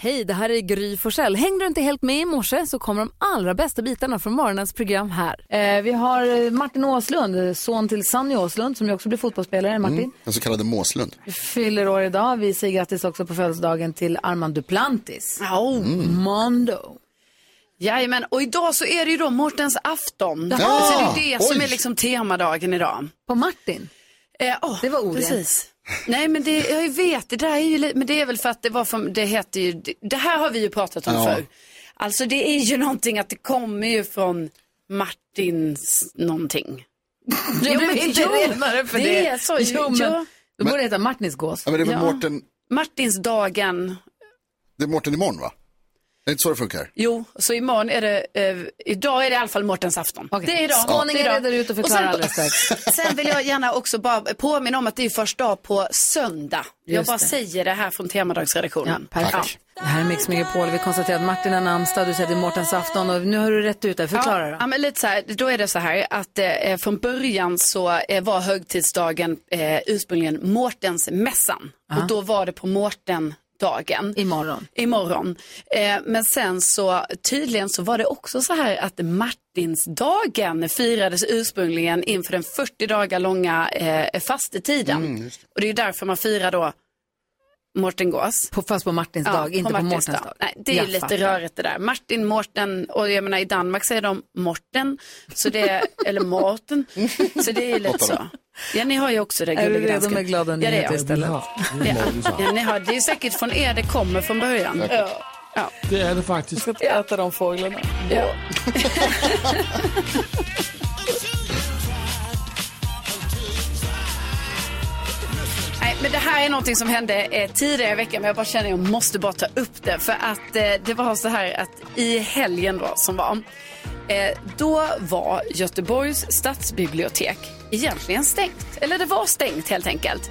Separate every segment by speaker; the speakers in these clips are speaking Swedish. Speaker 1: Hej, det här är Gry Forssell. Hängde du inte helt med i morse så kommer de allra bästa bitarna från morgonens program här. Eh, vi har Martin Åslund, son till Sanny Åslund som ju också blir fotbollsspelare. Martin
Speaker 2: Mm, den så kallade Måslund.
Speaker 1: fyller år idag. Vi säger grattis också på födelsedagen till Armand Duplantis. Oh.
Speaker 3: Mm.
Speaker 1: Mondo.
Speaker 3: Jajamän, och idag så är det ju då Mårtens afton.
Speaker 1: Jaha.
Speaker 3: Så det är ju det som
Speaker 1: Oj.
Speaker 3: är liksom temadagen idag.
Speaker 1: På Martin?
Speaker 3: Eh, åh,
Speaker 1: det var orent.
Speaker 3: Precis. Nej men det, jag vet, det där är ju li- men det är väl för att det var från, det heter ju, det- det här har vi ju pratat om
Speaker 4: Ja.
Speaker 3: förr. Alltså det är ju någonting att det kommer ju från Martins någonting. Det
Speaker 1: Jo,
Speaker 3: blev
Speaker 1: men-
Speaker 3: inte
Speaker 1: jo,
Speaker 3: renare för det.
Speaker 1: det är så, jo, men- då borde det heta Martins gås.
Speaker 2: Ja, men det är väl Mårten-
Speaker 3: Martinsdagen.
Speaker 2: Det är Mårten imorgon va? Det är inte så det funkar.
Speaker 3: Jo, så imorgon är det, eh, idag är det i alla fall Mårtens afton. Det är idag.
Speaker 1: Skåningen
Speaker 3: det är idag.
Speaker 1: reder ut och förklarar alldeles strax.
Speaker 3: Sen vill jag gärna också bara påminna om att det är första dag på söndag. jag
Speaker 1: Just
Speaker 3: bara
Speaker 1: det.
Speaker 3: säger det här från temadagsredaktionen.
Speaker 1: Ja, perfekt. Det här är Mix Megapol. Vi konstaterar att Martin har namnsdag, du säger att det är Mårtens afton och nu har du rätt ut det. Förklara
Speaker 3: ja,
Speaker 1: då.
Speaker 3: ja, men lite så här, då är det så här att eh, från början så eh, var högtidsdagen eh, ursprungligen Mårtensmässan.
Speaker 1: Ja.
Speaker 3: Och då var det på Mårtendagen.
Speaker 1: Imorgon.
Speaker 3: Imorgon. Eh, men sen så tydligen så var det också så här att Martinsdagen firades ursprungligen inför den 40 dagar långa eh, fastetiden.
Speaker 1: Mm, just
Speaker 3: och det är ju därför man firar då Mårten Gås.
Speaker 1: På, fast på Martins dag, inte på Mårtens dag.
Speaker 3: Nej, det är
Speaker 1: Jag
Speaker 3: ju lite
Speaker 1: fattar.
Speaker 3: rörigt det där. Martin, Mårten och jag menar i Danmark säger de Morten, så det är, eller Mårten, så det är ju lite så. Ja, ni har ju också det
Speaker 1: Är du
Speaker 3: gulliga
Speaker 1: redo
Speaker 3: dansken.
Speaker 1: med glada
Speaker 3: ja, det är
Speaker 1: nyheter
Speaker 3: jag.
Speaker 1: istället?
Speaker 3: Ja, ja, ni har, det är säkert från er det kommer från början.
Speaker 5: Säkert.
Speaker 3: Ja. Ja.
Speaker 5: Det är det faktiskt.
Speaker 1: Jag ska äta de fåglarna.
Speaker 3: Ja. Nej, men det här är någonting som hände eh, tidigare i veckan, men jag bara känner att jag måste bara ta upp det. För att eh, det var så här att i helgen då, som var, eh, då var Göteborgs stadsbibliotek egentligen stängt. Eller det var stängt helt enkelt.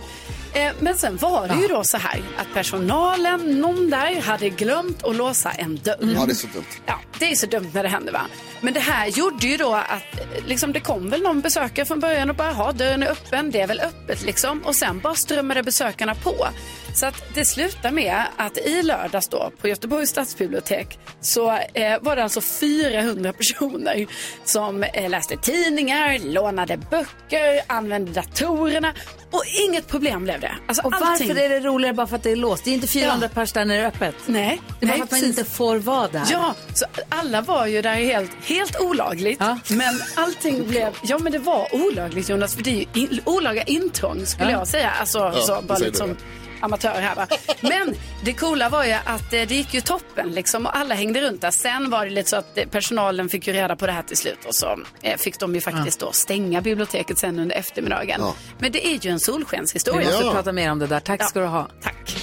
Speaker 3: Eh, men sen var det ju då så här att personalen, någon där, hade glömt att låsa en dörr.
Speaker 2: Ja, det är så dumt.
Speaker 3: Ja, det är så dumt när det händer va. Men det här gjorde ju då att eh, liksom, det kom väl någon besökare från början och bara, ha dörren är öppen, det är väl öppet liksom. Och sen bara strömmade besökarna på. Så att det slutar med att i lördags då på Göteborgs stadsbibliotek så eh, var det alltså 400 personer som eh, läste tidningar, lånade böcker, använde datorerna och inget problem blev det. Alltså,
Speaker 1: Och
Speaker 3: allting-
Speaker 1: varför är det roligare bara för att det är låst? Det är inte 400 pers där när det är öppet.
Speaker 3: Nej,
Speaker 1: Det är bara
Speaker 3: nej,
Speaker 1: för att man
Speaker 3: precis.
Speaker 1: inte får vara där.
Speaker 3: Ja, så alla var ju där helt, helt olagligt. Men allting blev... Ja, men det var olagligt, Jonas. För det är ju in, olaga intrång, skulle
Speaker 1: Ja.
Speaker 3: jag säga. Alltså,
Speaker 1: Ja,
Speaker 3: så,
Speaker 1: det
Speaker 3: bara
Speaker 1: säger
Speaker 3: lite
Speaker 1: du,
Speaker 3: som amatör här, va? Men det coola var ju att eh, det gick ju toppen, liksom. Och alla hängde runt där. Sen var det lite så att eh, personalen fick ju reda på det här till slut. Och så eh, fick de ju faktiskt då stänga biblioteket sen under eftermiddagen.
Speaker 1: Ja.
Speaker 3: Men det är ju en solskenshistoria.
Speaker 1: Vi måste prata mer om det där. Tack
Speaker 3: Ja.
Speaker 1: ska du ha.
Speaker 3: Tack.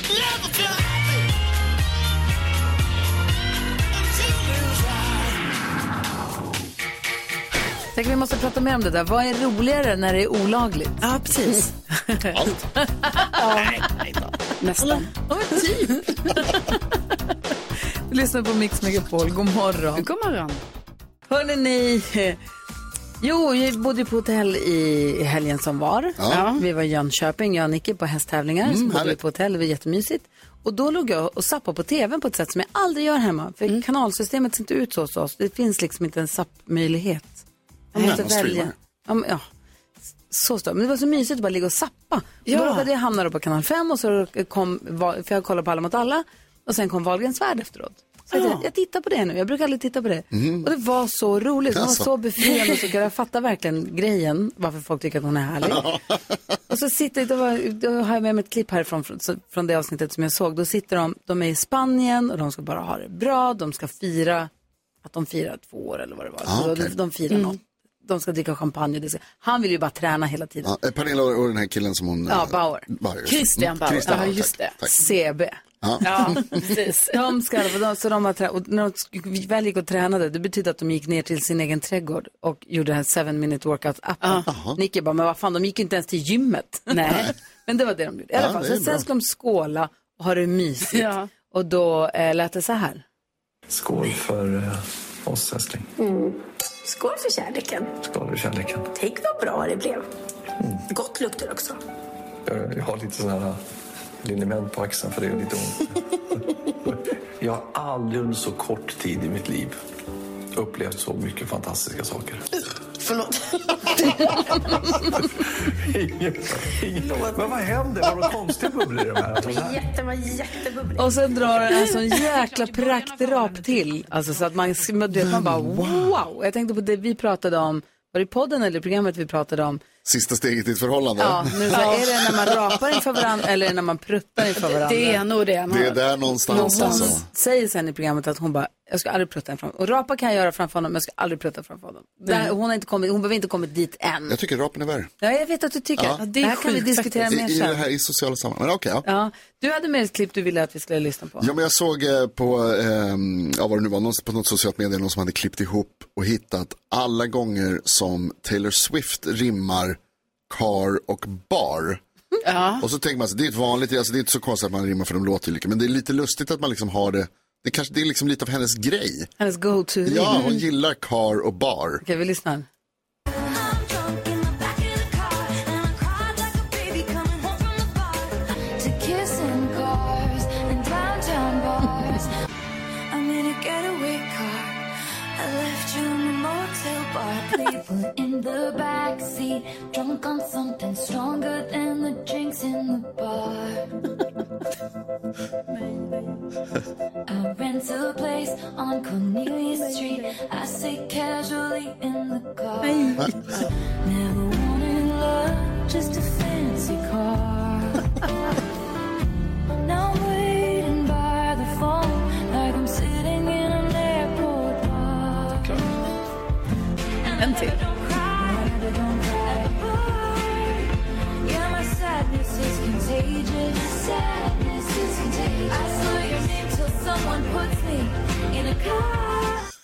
Speaker 1: Tänk, vi måste prata mer om det där. Vad är roligare när det är olagligt?
Speaker 3: Ja, precis.
Speaker 2: Allt.
Speaker 1: Nej,
Speaker 3: Nästan.
Speaker 1: Ja, men typ. Du lyssnar på Mix Megapol. God morgon.
Speaker 3: God morgon.
Speaker 1: Hörrni, ni... eh, Jo, vi bodde ju på hotell i helgen som var.
Speaker 3: Ja.
Speaker 1: Vi var i Jönköping, jag och Nicky på hästtävlingar.
Speaker 3: Mm,
Speaker 1: så bodde vi
Speaker 3: härligt.
Speaker 1: på hotell, det var jättemysigt. Och då låg jag och zappade på tvn på ett sätt som jag aldrig gör hemma. För
Speaker 3: Mm.
Speaker 1: kanalsystemet ser inte ut så hos oss. Det finns liksom inte en zappmöjlighet. Man
Speaker 4: Nej,
Speaker 1: måste
Speaker 4: man
Speaker 1: välja.
Speaker 4: streamar.
Speaker 1: Ja, men, ja. Så stort. Men det var så mysigt att bara ligga och sappa.
Speaker 4: Ja.
Speaker 1: Då råkade jag hamna då på kanal 5 och så kom, Val- för jag kollade på Alla mot alla. Och sen kom Wahlgrens värld efteråt. Så jag, jag tittar på det nu, jag brukar aldrig titta på det.
Speaker 2: Mhm.
Speaker 1: Och det var så roligt, hon var
Speaker 4: Alltså.
Speaker 1: så befriande och så kul. Jag fattar verkligen grejen, varför folk tycker att hon är härlig. Och så sitter, då, var, då har jag med mig ett klipp härifrån, från, från det avsnittet som jag såg. Då sitter de, de är i Spanien och de ska bara ha det bra, de ska fira att de firar två år eller vad det var.
Speaker 2: Ah,
Speaker 1: Så
Speaker 2: okej.
Speaker 1: de, de firar
Speaker 2: Mm.
Speaker 1: något. De ska dricka champagne. det Ska, han vill ju bara träna hela tiden.
Speaker 2: Ja, eh, Pernilla och och den här killen som hon...
Speaker 1: Ja,
Speaker 2: eh,
Speaker 1: Bauer.
Speaker 2: Bauer.
Speaker 1: Christian
Speaker 2: Mm,
Speaker 1: Bauer.
Speaker 2: Christian
Speaker 1: Ja, just
Speaker 2: tack, Tack.
Speaker 1: CB.
Speaker 2: Ja.
Speaker 3: precis.
Speaker 1: De ska, de, så de har trä- och när de sk- väl gick och tränade, det betyder att de gick ner till sin egen trädgård och gjorde den här 7 minute workout-appen. Nicky bara, men vad fan, de gick ju inte ens till gymmet. Nej. men det var det de gjorde. I alla
Speaker 4: Ja,
Speaker 1: fall,
Speaker 4: det
Speaker 1: så
Speaker 4: är
Speaker 1: sen
Speaker 4: bra.
Speaker 1: ska de skåla och ha det mysigt.
Speaker 4: Ja.
Speaker 1: Och då eh, lät det så här.
Speaker 6: Skål för eh, oss, älskling.
Speaker 7: Skål för kärleken.
Speaker 6: Skål för kärleken.
Speaker 7: Tänk vad bra det blev. Gott luktar också.
Speaker 6: eh, Jag, jag har lite sån här liniment på axeln för det är lite ont. Jag har aldrig under så kort tid i mitt liv upplevt så mycket fantastiska saker.
Speaker 8: Förlåt.
Speaker 6: Ingen- ingen- Men vad händer? Var det konstiga bubblor i de här? De här?
Speaker 8: Jätte, var jättebubblig.
Speaker 1: Och sen drar han en sån jäkla praktrap till. Alltså så att man, man, vet, man bara wow. Jag tänkte på det vi pratade om, var det i podden eller i programmet vi pratade om?
Speaker 2: Sista steget i ett förhållande.
Speaker 1: Ja, nu så här, är det när man rapar inför varandra eller är det när man pruttar inför varandra?
Speaker 9: Det är nog det.
Speaker 2: Det är där någonstans,
Speaker 1: Hon
Speaker 2: alltså.
Speaker 1: säger sen i programmet att hon bara, jag ska aldrig prutta framför honom. Och rapa kan jag göra framför honom, men jag ska aldrig prutta framför honom. Där,
Speaker 2: Mm.
Speaker 1: hon, har inte kommit, hon behöver inte kommit dit än.
Speaker 2: Jag tycker rapen är värre.
Speaker 1: Ja, jag vet att du tycker.
Speaker 2: Ja.
Speaker 1: Ja, det, här kan vi diskutera
Speaker 2: I,
Speaker 1: mer
Speaker 2: i, det
Speaker 1: sen.
Speaker 2: här, I sociala sammanhang. Men okej, ja.
Speaker 1: Ja, du hade med ett klipp du ville att vi skulle lyssna på.
Speaker 2: Ja, men jag såg eh, på, ehm, ja, vad det nu var, någon, på något socialt medie någon som hade klippt ihop och hittat alla gånger som Taylor Swift rimmar car och bar. Och så tänker man sig, det är ett vanligt, alltså, det är inte så konstigt att man rimmar för de låter ju lika, men det är lite lustigt att man liksom har det, det, kanske, det är liksom lite av hennes grej.
Speaker 1: Hennes go-to.
Speaker 2: Ja, hon gillar car och bar.
Speaker 1: Okej, vi lyssnar.
Speaker 10: In the backseat, drunk on something stronger than the drinks in the bar. I rent a place on Cornelius Street. I sit casually in the car. Never wanted love, just a fancy car. now I'm waiting by the phone, like I'm sitting in an airport bar.
Speaker 9: En till.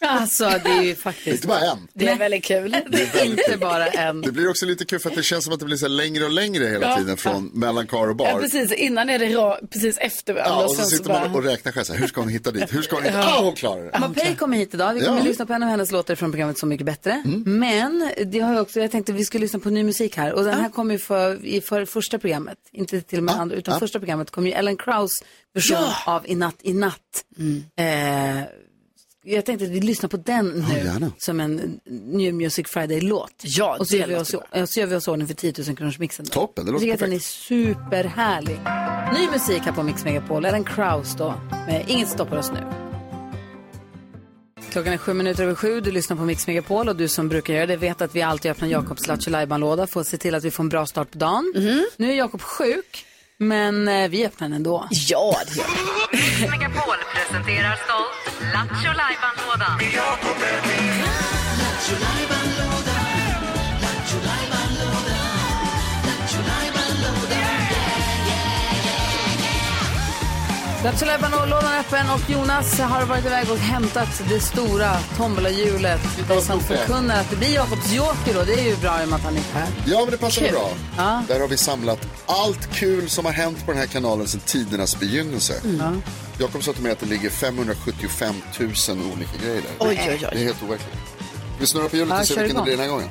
Speaker 1: Alltså, det är ju faktiskt
Speaker 2: Inte bara en.
Speaker 9: Det är väldigt kul.
Speaker 1: inte bara en.
Speaker 2: Det blir också lite kul för att det känns som att det blir så här längre och längre hela tiden från mellan car och bar.
Speaker 9: Ja, precis. Innan är det ra, precis efter varandra.
Speaker 2: Ja, och så
Speaker 9: sen
Speaker 2: sitter
Speaker 9: bara-
Speaker 2: man och räknar själv, så här, hur ska hon hitta dit, hur ska hon hitta, ah hon klarar det.
Speaker 1: Mapei kommer hit idag. Vi kommer
Speaker 2: Ja.
Speaker 1: lyssna på en av hennes låtar från programmet Så mycket bättre. Men det har jag också, jag tänkte vi skulle lyssna på ny musik här. Och den här kommer ju för, i för första programmet, inte till och med andra, utan första programmet kom ju Ellen Kraus version av I natt, i natt. Eh, jag tänkte att vi lyssnar på den nu
Speaker 2: gärna.
Speaker 1: som en New Music Friday-låt.
Speaker 9: Ja,
Speaker 1: och så
Speaker 9: det
Speaker 1: gör, vi oss,
Speaker 9: låter
Speaker 1: och så gör vi oss i ordning för 10 000 kronors mixen. då.
Speaker 2: Toppen, det låter
Speaker 1: Jag tycker att den är superhärlig. Ny musik här på Mix Megapol, Ellen Kraus då. Men inget stoppar oss nu. Klockan är sju minuter över sju, du lyssnar på Mix Megapol och du som brukar göra det vet att vi alltid öppnar Jakobs Lattjo Lajban-låda för att se till att vi får en bra start på dagen. Nu är Jakob sjuk, men eh, vi öppnar den ändå.
Speaker 9: Ja, det gör det.
Speaker 7: Megapol presenterar stolt Lattjo Lajban-lådan.
Speaker 1: Lattjo Lajban-lådan är öppen och Jonas har varit iväg och hämtat det stora tombolahjulet. Och som förkunnar att det blir Jakobs joker då, det är ju bra i och med att han inte är här.
Speaker 2: Ja, men det passar bra. Där har vi samlat allt kul som har hänt på den här kanalen sedan tidernas begynnelse. Jakob sa till mig att det ligger 575 000 olika grejer där.
Speaker 9: Oj, oj,
Speaker 2: Det är
Speaker 9: oj.
Speaker 2: helt overkligt. Vi snurrar på hjulet
Speaker 1: Ja,
Speaker 2: och ser
Speaker 1: kör
Speaker 2: vilken det
Speaker 1: igång.
Speaker 2: blir den här gången.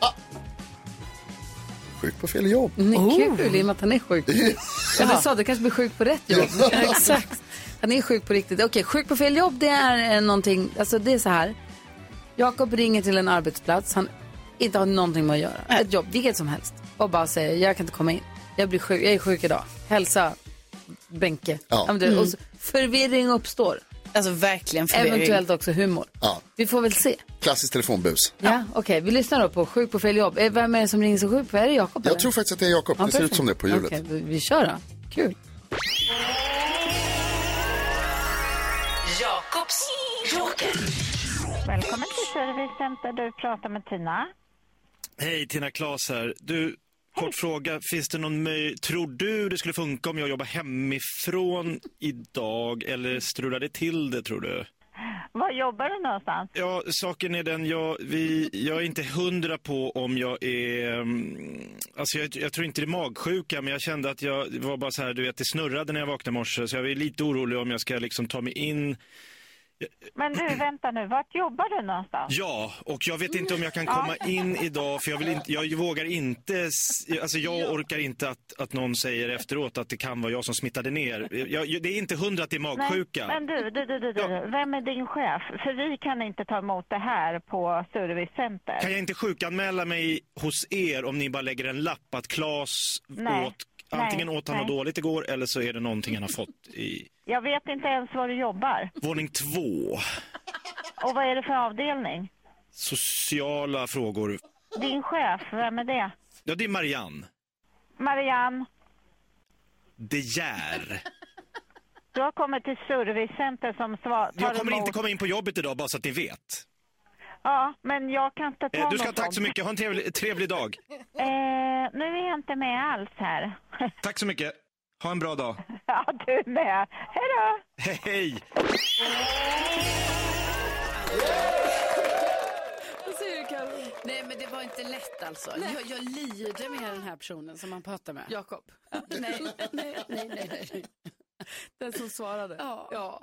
Speaker 2: Ah! Sjuk på fel jobb.
Speaker 1: Men Kul, i och med att han är sjuk. Eller sa du kanske blir sjuk på rätt jobb. Exakt. Han är sjuk på riktigt. Okej, sjuk på fel jobb det är eh, någonting, alltså det är så här. Jakob ringer till en arbetsplats han inte har någonting med att göra. Ett jobb, vilket som helst. Och bara säger, jag kan inte komma in. Jag blir sjuk, jag är sjuk idag. Hälsa Benke.
Speaker 2: Ja.
Speaker 1: men du, Och så, förvirring uppstår.
Speaker 9: Alltså verkligen förvirring.
Speaker 1: Eventuellt också humor.
Speaker 2: Ja.
Speaker 1: Vi får väl se.
Speaker 2: Klassiskt telefonbus.
Speaker 1: Ja, okej. Vi lyssnar då på sjuk på fel jobb. Eh, Vem är det som ringer så sjuk på? Är det Jakob?
Speaker 2: Jag
Speaker 1: eller?
Speaker 2: tror faktiskt att det är Jakob.
Speaker 1: Ja,
Speaker 2: det ser ut
Speaker 1: perfekt.
Speaker 2: som det på hjulet.
Speaker 1: Okej, vi- vi kör då. Kul.
Speaker 7: Jakobs joker.
Speaker 11: Välkommen till Servicecenter där du pratar med Tina.
Speaker 12: Hej, Tina Klas här. Du, kort fråga. Finns det någon möj... Tror du det skulle funka om jag jobbar hemifrån idag eller strular det till det, tror du?
Speaker 11: Var jobbar du någonstans?
Speaker 12: Ja, saken är den, jag, vi, jag är inte hundra på om jag är... mm, Alltså jag, jag tror inte det är magsjuka, men jag kände att jag det var bara så här, du vet, det snurrade när jag vaknade i morse. Så jag är lite orolig om jag ska liksom ta mig in
Speaker 11: Men du, vänta nu. Vart jobbar du någonstans?
Speaker 12: Ja, och jag vet inte om jag
Speaker 11: Mm.
Speaker 12: kan komma in idag för jag, vill inte, jag vågar inte, s- alltså jag orkar inte att, att någon säger efteråt att det kan vara jag som smittade ner. Jag, det är inte hundra att det är magsjuka.
Speaker 11: Men du, du, du, du, du.
Speaker 12: Ja.
Speaker 11: vem är din chef? För vi kan inte ta emot det här på servicecenter.
Speaker 12: Kan jag inte sjukanmäla mig hos er om ni bara lägger en lapp att Claes
Speaker 11: Nej.
Speaker 12: åt, antingen
Speaker 11: Nej.
Speaker 12: åt han något
Speaker 11: Nej.
Speaker 12: dåligt igår eller så är det någonting han har fått i
Speaker 11: Jag vet inte ens var du jobbar.
Speaker 12: våning två.
Speaker 11: Och vad är det för avdelning?
Speaker 12: Sociala frågor.
Speaker 11: Din chef, vem är det?
Speaker 12: Ja, det är Marianne.
Speaker 11: Marianne,
Speaker 12: De Geer.
Speaker 11: du har kommit till servicecenter som svar, tar
Speaker 12: Jag kommer
Speaker 11: emot.
Speaker 12: inte komma in på jobbet idag bara så att ni vet.
Speaker 11: Ja, men jag kan inte ta
Speaker 12: Eh, Du ska ha
Speaker 11: något
Speaker 12: tack så
Speaker 11: sånt.
Speaker 12: mycket. Ha en trevlig, trevlig dag.
Speaker 11: Eh, nu är jag inte med alls här.
Speaker 12: Tack så mycket. Ha en bra dag.
Speaker 11: ja, du är med. Hej då!
Speaker 12: Hej!
Speaker 9: Nej, men det var inte lätt alltså. Jag, jag lider med den här personen som man pratar med.
Speaker 3: Jakob.
Speaker 9: Nej, nej, nej, nej. nej.
Speaker 3: Den som svarade.
Speaker 9: Ja.
Speaker 3: ja.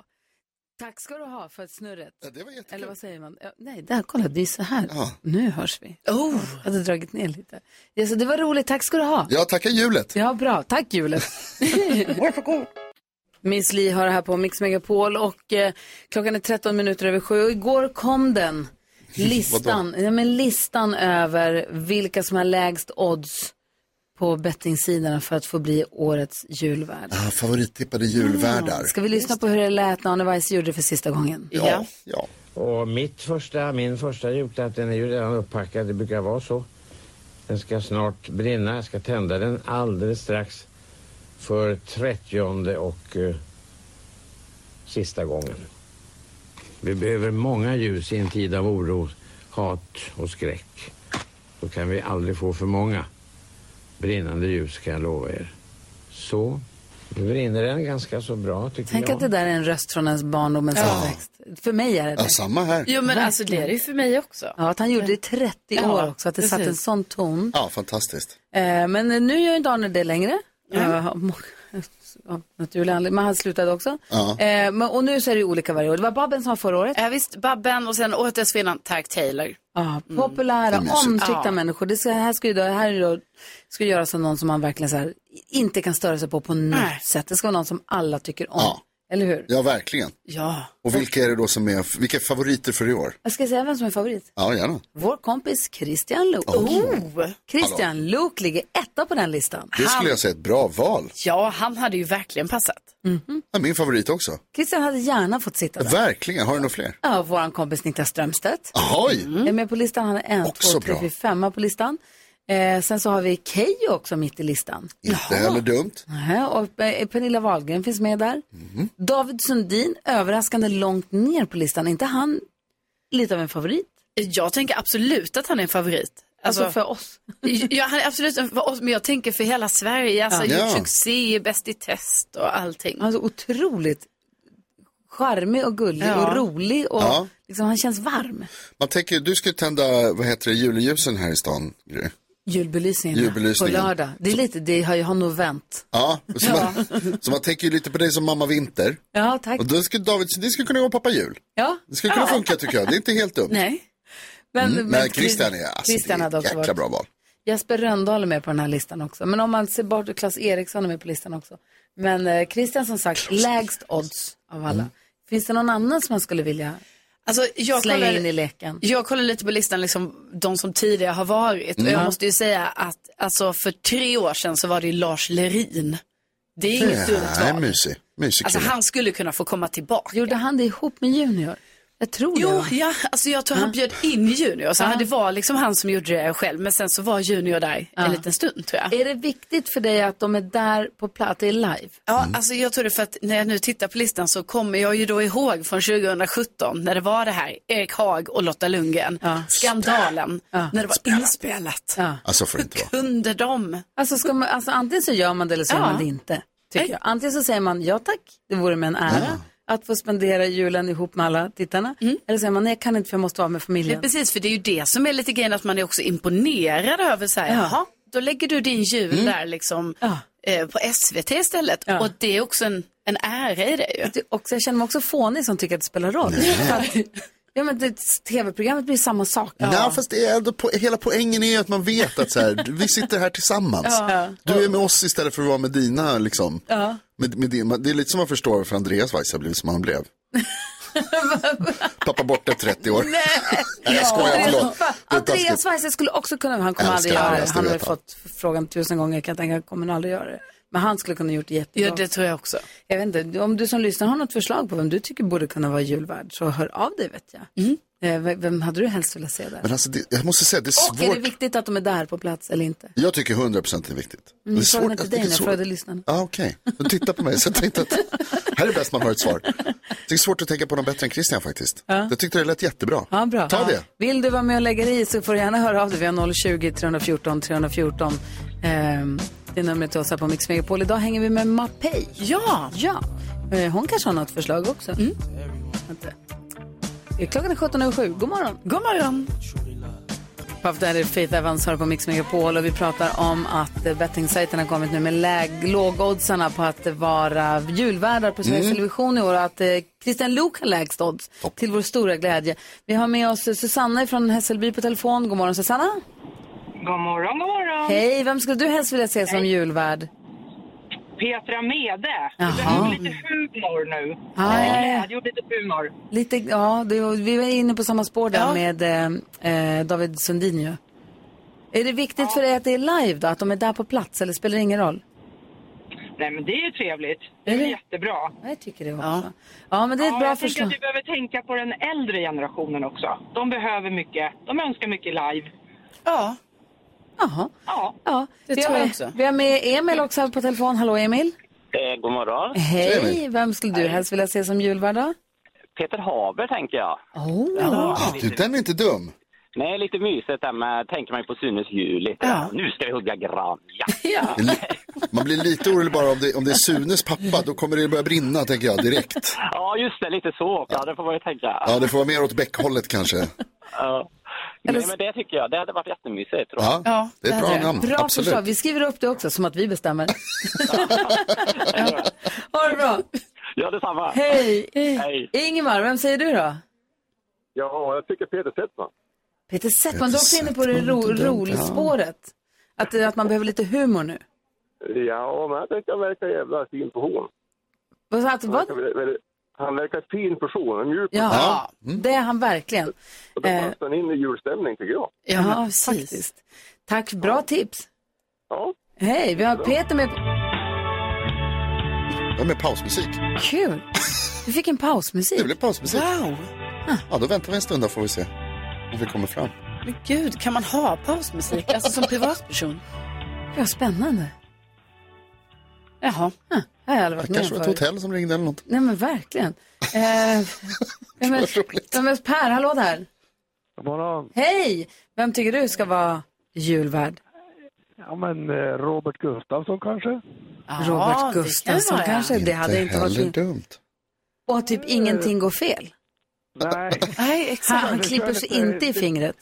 Speaker 1: Tack ska du ha för snurret.
Speaker 2: Ja, det var jättekul.
Speaker 1: Eller vad säger man? Ja, nej, där, kolla, det är så här.
Speaker 2: Ja.
Speaker 1: Nu hörs vi. Oh. Jag hade dragit ner lite. Ja, så det var roligt, tack ska du ha.
Speaker 2: Ja, tacka hjulet.
Speaker 1: Ja, bra. Tack, Julet. Miss Li har det här på Mix Megapol och eh, klockan är 13 minuter över sju. Och igår kom den listan, ja, men listan över vilka som har lägst odds på bettingsidorna för att få bli årets julvärd.
Speaker 2: Ah, favorittippade julvärdar.
Speaker 1: Ska vi lyssna på hur det lät när Arne Weise gjorde det för sista gången?
Speaker 2: Ja, ja.
Speaker 13: Och mitt första, min första julklapp, den är ju redan upppackad. Det brukar vara så. Den ska snart brinna. Jag ska tända den alldeles strax för trettionde och eh, sista gången. Vi behöver många ljus i en tid av oro, hat och skräck. Då kan vi aldrig få för många. Brinnande ljus kan jag lova er. Så, nu brinner den ganska så bra tycker
Speaker 1: Tänk
Speaker 13: jag.
Speaker 1: att det där är en röst från ens barndomens uppväxt. För mig är det
Speaker 2: ja
Speaker 1: det.
Speaker 2: samma här.
Speaker 3: Jo, men alltså det är det ju för mig också.
Speaker 1: Ja, att han gjorde det i 30 år också, att det satt en
Speaker 3: precis.
Speaker 1: sån ton.
Speaker 2: Ja, fantastiskt.
Speaker 1: Eh, men nu gör inte Arne det längre. Eh, av må- av naturlig anledning, men han slutade också.
Speaker 2: Ja.
Speaker 1: Eh, men, och nu så är det ju olika varje år. Det var Babben som var förra året.
Speaker 3: Ja, visst, Babben och sen året dessförinnan Tack Taylor.
Speaker 1: Ja, populära, omtyckta
Speaker 3: Ja.
Speaker 1: människor. Det ska, här ska ju då, här är då, ska göras som någon som man verkligen så här, inte kan störa sig på på något
Speaker 3: Nej.
Speaker 1: sätt. Det ska vara någon som alla tycker om.
Speaker 2: Ja.
Speaker 1: Eller hur?
Speaker 2: Ja, verkligen.
Speaker 3: Ja.
Speaker 2: Och vilka är det då som är, vilka är favoriter för i år?
Speaker 1: Jag ska säga vem som är favorit.
Speaker 2: Ja, gärna.
Speaker 1: Vår kompis Christian Luuk.
Speaker 3: Oh.
Speaker 1: Christian Luuk ligger etta på den listan.
Speaker 2: Det skulle jag säga är ett bra val.
Speaker 3: Ja, han hade ju verkligen passat.
Speaker 2: Ja, min favorit också.
Speaker 1: Christian hade gärna fått sitta där.
Speaker 2: Verkligen. Har du några fler?
Speaker 1: Ja, vår kompis Niklas Strömstedt.
Speaker 2: Ahoj!
Speaker 1: är med på listan. Han är en,
Speaker 2: Också
Speaker 1: två, tre,
Speaker 2: Mm. bra.
Speaker 1: fyra, femma på listan. Eh, sen så har vi Keyyo också mitt i listan.
Speaker 2: Inte heller dumt.
Speaker 1: Nähä, Och eh, Pernilla Wahlgren finns med där.
Speaker 2: Mm.
Speaker 1: David Sundin, överraskande långt ner på listan. inte han lite av en favorit?
Speaker 3: Jag tänker absolut att han är en favorit.
Speaker 1: Alltså,
Speaker 3: Alltså,
Speaker 1: för oss.
Speaker 3: ja, han är absolut en för oss, men jag tänker för hela Sverige. Alltså,
Speaker 2: Ja.
Speaker 3: gjort succé, bäst i test och allting.
Speaker 1: Han är så otroligt charmig och gullig
Speaker 3: Ja.
Speaker 1: och rolig och
Speaker 2: Ja.
Speaker 1: liksom, han känns varm.
Speaker 2: Man tänker, du ska ju tända, vad heter det, juleljusen här i stan, Gry.
Speaker 1: Julbelysningen,
Speaker 2: Julbelysningen.
Speaker 1: på lördag. Det är lite, det har jag har nog vänt.
Speaker 2: Ja, så, Man, så man tänker ju lite på dig som mamma Vinter.
Speaker 1: Ja, tack.
Speaker 2: Och då skulle David, det skulle kunna gå pappa jul.
Speaker 1: Ja.
Speaker 2: Det skulle kunna funka tycker jag, det är inte helt dumt.
Speaker 3: Nej.
Speaker 1: Men,
Speaker 2: Men Christian är, alltså,
Speaker 1: Christian
Speaker 2: det
Speaker 1: hade
Speaker 2: är ett
Speaker 1: också
Speaker 2: jäkla
Speaker 1: varit
Speaker 2: bra val.
Speaker 1: Jesper Röndahl är med på den här listan också. Men om man ser bort, Claes Eriksson är med på listan också. Men eh, Christian som sagt, lägst odds av
Speaker 3: Mm.
Speaker 1: alla. Finns det någon annan som man skulle vilja
Speaker 3: Alltså, jag
Speaker 1: slänga
Speaker 3: kollar-
Speaker 1: in i leken?
Speaker 3: Jag kollar lite på listan, liksom, de som tidigare har varit. Och jag måste ju säga att alltså, för tre år sedan så var det ju Lars Lerin. Det är inget dumt
Speaker 2: Ja,
Speaker 3: val.
Speaker 2: mysig, mysig
Speaker 3: Alltså,
Speaker 2: kille.
Speaker 3: han skulle kunna få komma tillbaka.
Speaker 1: Gjorde han det ihop med Junior? Jag tror det.
Speaker 3: Jo,
Speaker 1: va?
Speaker 3: ja, alltså jag tror han bjöd in Junior. Så Det var liksom han som gjorde det själv. Men sen så var Junior där en liten stund tror jag.
Speaker 1: Är det viktigt för dig att de är där på plats, att det är live?
Speaker 3: Ja, alltså jag tror det för att när jag nu tittar på listan så kommer jag ju då ihåg från 2017 när det var det här, Erik Haag och Lotta Lundgren, skandalen, när det var inspelat.
Speaker 1: Ja.
Speaker 2: Alltså får det inte vara.
Speaker 3: Kunde de?
Speaker 1: Alltså, ska man, alltså antingen så gör man det eller så gör
Speaker 3: Ja.
Speaker 1: man det inte. Tycker
Speaker 3: Nej.
Speaker 1: jag. Antingen så säger man ja tack, det vore mig en ära att få spendera julen ihop med alla tittarna.
Speaker 3: Mm.
Speaker 1: Eller så säger man nej jag kan inte för jag måste vara med
Speaker 3: Ja,
Speaker 1: familjen.
Speaker 3: precis, för det är ju det som är lite grejen att man är också imponerad över så här, jaha, då lägger du din jul där liksom.
Speaker 1: Ja.
Speaker 3: eh, på SVT istället. Och det är också en, en ära i det ju.
Speaker 1: Och jag känner mig också fånig som tycker att det spelar roll. För att, ja, men det, tv-programmet blir samma sak.
Speaker 2: Nej, fast det är ändå po- hela poängen är ju att man vet att så här, vi sitter här tillsammans.
Speaker 1: Ja.
Speaker 2: Du är med oss istället för att vara med dina. Liksom.
Speaker 1: Ja.
Speaker 2: Med, med din, det är lite som man förstår varför Andreas Weise har blivit som han blev. Pappa borta 30 år. Nej, jag skojar,
Speaker 1: Andreas-
Speaker 2: förlåt. Det är
Speaker 1: Andreas
Speaker 2: taskigt.
Speaker 1: Weise skulle också kunna, han kommer
Speaker 2: Älskar
Speaker 1: aldrig göra det.
Speaker 2: Andreas, det
Speaker 1: Han har ju
Speaker 2: vet jag.
Speaker 1: fått frågan tusen gånger, kan jag tänka, kommer aldrig göra det. Men han skulle kunna gjort det jättebra.
Speaker 3: Ja, det tror jag också.
Speaker 1: Jag vet inte, om du som lyssnar har något förslag på vem du tycker borde kunna vara julvärd, så hör av dig vet jag.
Speaker 3: Mm.
Speaker 1: Eh, v- Vem hade du helst velat se där?
Speaker 2: Men alltså, det, jag måste säga, det är
Speaker 1: Och är det
Speaker 2: svårt.
Speaker 1: viktigt att de är där på plats eller inte?
Speaker 2: Jag tycker 100% det är viktigt.
Speaker 1: Mm,
Speaker 2: det är
Speaker 1: jag frågade
Speaker 2: alltså,
Speaker 1: inte
Speaker 2: det
Speaker 1: dig
Speaker 2: är
Speaker 1: när jag
Speaker 2: svårt.
Speaker 1: frågade lyssnarna.
Speaker 2: Ja, okej. De tittar på mig så jag tänkte att här är bäst man har ett svar. Det är svårt att tänka på någon bättre än Christian faktiskt.
Speaker 1: Ja.
Speaker 2: Jag tyckte det lät jättebra.
Speaker 1: Ja, bra.
Speaker 2: Ta
Speaker 1: ja.
Speaker 2: det.
Speaker 1: Vill du vara med och lägga dig i så får du gärna höra av dig. Vi har 020 314 314. Ehm, det är numret till oss här på Mix Megapol. Idag hänger vi med Mapei.
Speaker 3: Ja!
Speaker 1: ja. Eh, Hon kanske har något förslag också. Mm. Klockan är 17.07. God morgon.
Speaker 3: God morgon.
Speaker 1: Puff Daddy och Faith Evans hör på Mix Megapol och vi pratar om att eh, bettingsajten har kommit nu med läg- lågoddsarna på att vara julvärdar på Sveriges
Speaker 3: Mm.
Speaker 1: Television i år och att eh, Christian Luuk har lägst odds till vår stora glädje. Vi har med oss eh, Susanne från Hässelby på telefon. God morgon Susanna.
Speaker 14: God morgon, god morgon.
Speaker 1: Hej, vem skulle du helst vilja se som julvärd?
Speaker 14: Petra Mede. Vi
Speaker 1: Jaha.
Speaker 14: behöver lite humor nu.
Speaker 1: Ja, ja, ja.
Speaker 14: Glädje och lite humor.
Speaker 1: Lite, ja, det, var- vi var inne på samma spår där
Speaker 14: Ja.
Speaker 1: med eh, eh, David Sundin ju. Är det viktigt för dig att det är live då, att de är där på plats eller spelar det ingen roll?
Speaker 14: Nej, men det är ju trevligt. Det är,
Speaker 1: Är det?
Speaker 14: jättebra.
Speaker 1: Jag tycker det också. Ja, men det är ett bra
Speaker 14: jag tänker
Speaker 1: förslag.
Speaker 14: att vi behöver tänka på den äldre generationen också. De behöver mycket. De önskar mycket live.
Speaker 3: Ja.
Speaker 1: Jaha.
Speaker 14: Ja.
Speaker 1: ja.
Speaker 14: Det
Speaker 1: vi
Speaker 14: tror
Speaker 1: har,
Speaker 14: jag också.
Speaker 1: Vi har med Emil också här på telefon. Hallå Emil.
Speaker 15: Eh, god morgon.
Speaker 1: Hej, vem skulle du helst vilja se som julvärd då?
Speaker 15: Peter Haber tänker jag.
Speaker 1: Oh.
Speaker 2: Ah, Du, den är inte dum.
Speaker 15: Nej, lite mysigt där med, tänker man ju på Sunes jul lite. Nu ska vi hugga gran. Ja.
Speaker 2: Man blir lite orolig bara om det, om det är Sunes pappa, då kommer det börja brinna tänker jag direkt.
Speaker 15: ja, just det, lite så. Ja, det får man ju tänka.
Speaker 2: Ja, det får vara mer åt Beck-hållet kanske.
Speaker 15: Ja. Nej, men det tycker jag. Det hade varit jättemysigt. Tror jag.
Speaker 2: Ja, det är ett bra
Speaker 1: hade jag.
Speaker 2: namn.
Speaker 1: Bra
Speaker 2: Absolut.
Speaker 1: förslag. Vi skriver upp det också, som att vi bestämmer. ja. Ha det bra.
Speaker 15: Ja, detsamma.
Speaker 1: Hej.
Speaker 15: Hej.
Speaker 1: Ingemar, vem säger du då?
Speaker 16: Ja, jag tycker Peter Settman.
Speaker 1: Peter Settman, du är också
Speaker 16: Peter
Speaker 1: inne på det
Speaker 16: Settman,
Speaker 1: ro-
Speaker 16: inte dumt.
Speaker 1: rollspåret. Att, att man behöver lite humor nu.
Speaker 16: Ja, men jag tycker han verkar jävla fin person.
Speaker 1: Vad sa du?
Speaker 16: Han
Speaker 1: Vad?
Speaker 16: verkar väldigt- väldigt- Han verkar fin person, en mjuk person.
Speaker 1: Ja, det är han verkligen. Eh,
Speaker 16: Och då passar han in i julstämning tycker jag.
Speaker 1: Ja, faktiskt. Tack, bra tips.
Speaker 16: Ja.
Speaker 1: Hej, vi har Peter med. på-
Speaker 2: Ja, med pausmusik.
Speaker 1: Kul. Vi fick en pausmusik.
Speaker 2: Det blev pausmusik.
Speaker 3: Wow.
Speaker 2: Ja, då väntar vi en stund då får vi se om vi kommer fram.
Speaker 3: Men gud, kan man ha pausmusik? Alltså som privatperson?
Speaker 1: Ja, spännande.
Speaker 3: Jaha.
Speaker 1: Ja, jag har jag aldrig varit
Speaker 2: Det kanske
Speaker 1: med
Speaker 2: var ett
Speaker 1: förut.
Speaker 2: hotell som ringde eller något.
Speaker 1: Nej men verkligen. Eh, vem, är, vem är Per? Hallå där.
Speaker 17: God morgon.
Speaker 1: Hej! Vem tycker du ska vara julvärd?
Speaker 17: Ja, men eh, Robert Gustafsson kanske?
Speaker 1: Robert det kan Gustafsson vara, ja. kanske? Det hade inte varit
Speaker 2: heller
Speaker 1: min-
Speaker 2: dumt.
Speaker 1: Och typ ingenting går fel.
Speaker 17: Nej.
Speaker 1: Nej, exakt. Han, han klipper sig inte i fingret.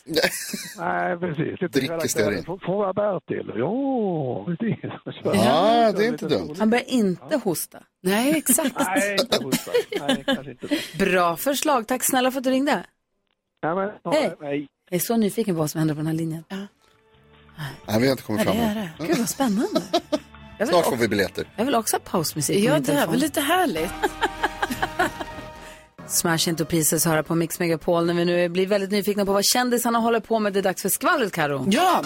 Speaker 17: Nej, precis. Lite
Speaker 2: Dricker
Speaker 17: karaktär.
Speaker 2: stearin.
Speaker 17: Får- Får jag bär till? Jo, precis.
Speaker 2: Ja, det är inte dumt.
Speaker 1: Han börjar inte hosta. Nej, exakt.
Speaker 17: Nej, inte hosta. Nej, kanske inte.
Speaker 1: Bra förslag. Tack snälla för att du ringde.
Speaker 17: Ja, men, ja,
Speaker 1: Hej.
Speaker 17: nej.
Speaker 1: Jag är så nyfiken på vad som händer på den här linjen.
Speaker 2: Nej, vi har inte kommit
Speaker 1: Ja,
Speaker 2: fram
Speaker 1: det är
Speaker 2: än.
Speaker 1: det. Gud, vad spännande. Jag vill,
Speaker 2: Snart
Speaker 1: också,
Speaker 2: får vi biljetter.
Speaker 1: jag vill också ha pausmusik på
Speaker 3: Ja,
Speaker 1: min
Speaker 3: det här var
Speaker 1: telefon.
Speaker 3: lite härligt.
Speaker 1: Smash Into Pieces höra på Mix Megapol när vi nu blir väldigt nyfikna på vad kändisarna håller på med. Det är dags för skvallret, Karo.
Speaker 3: Ja,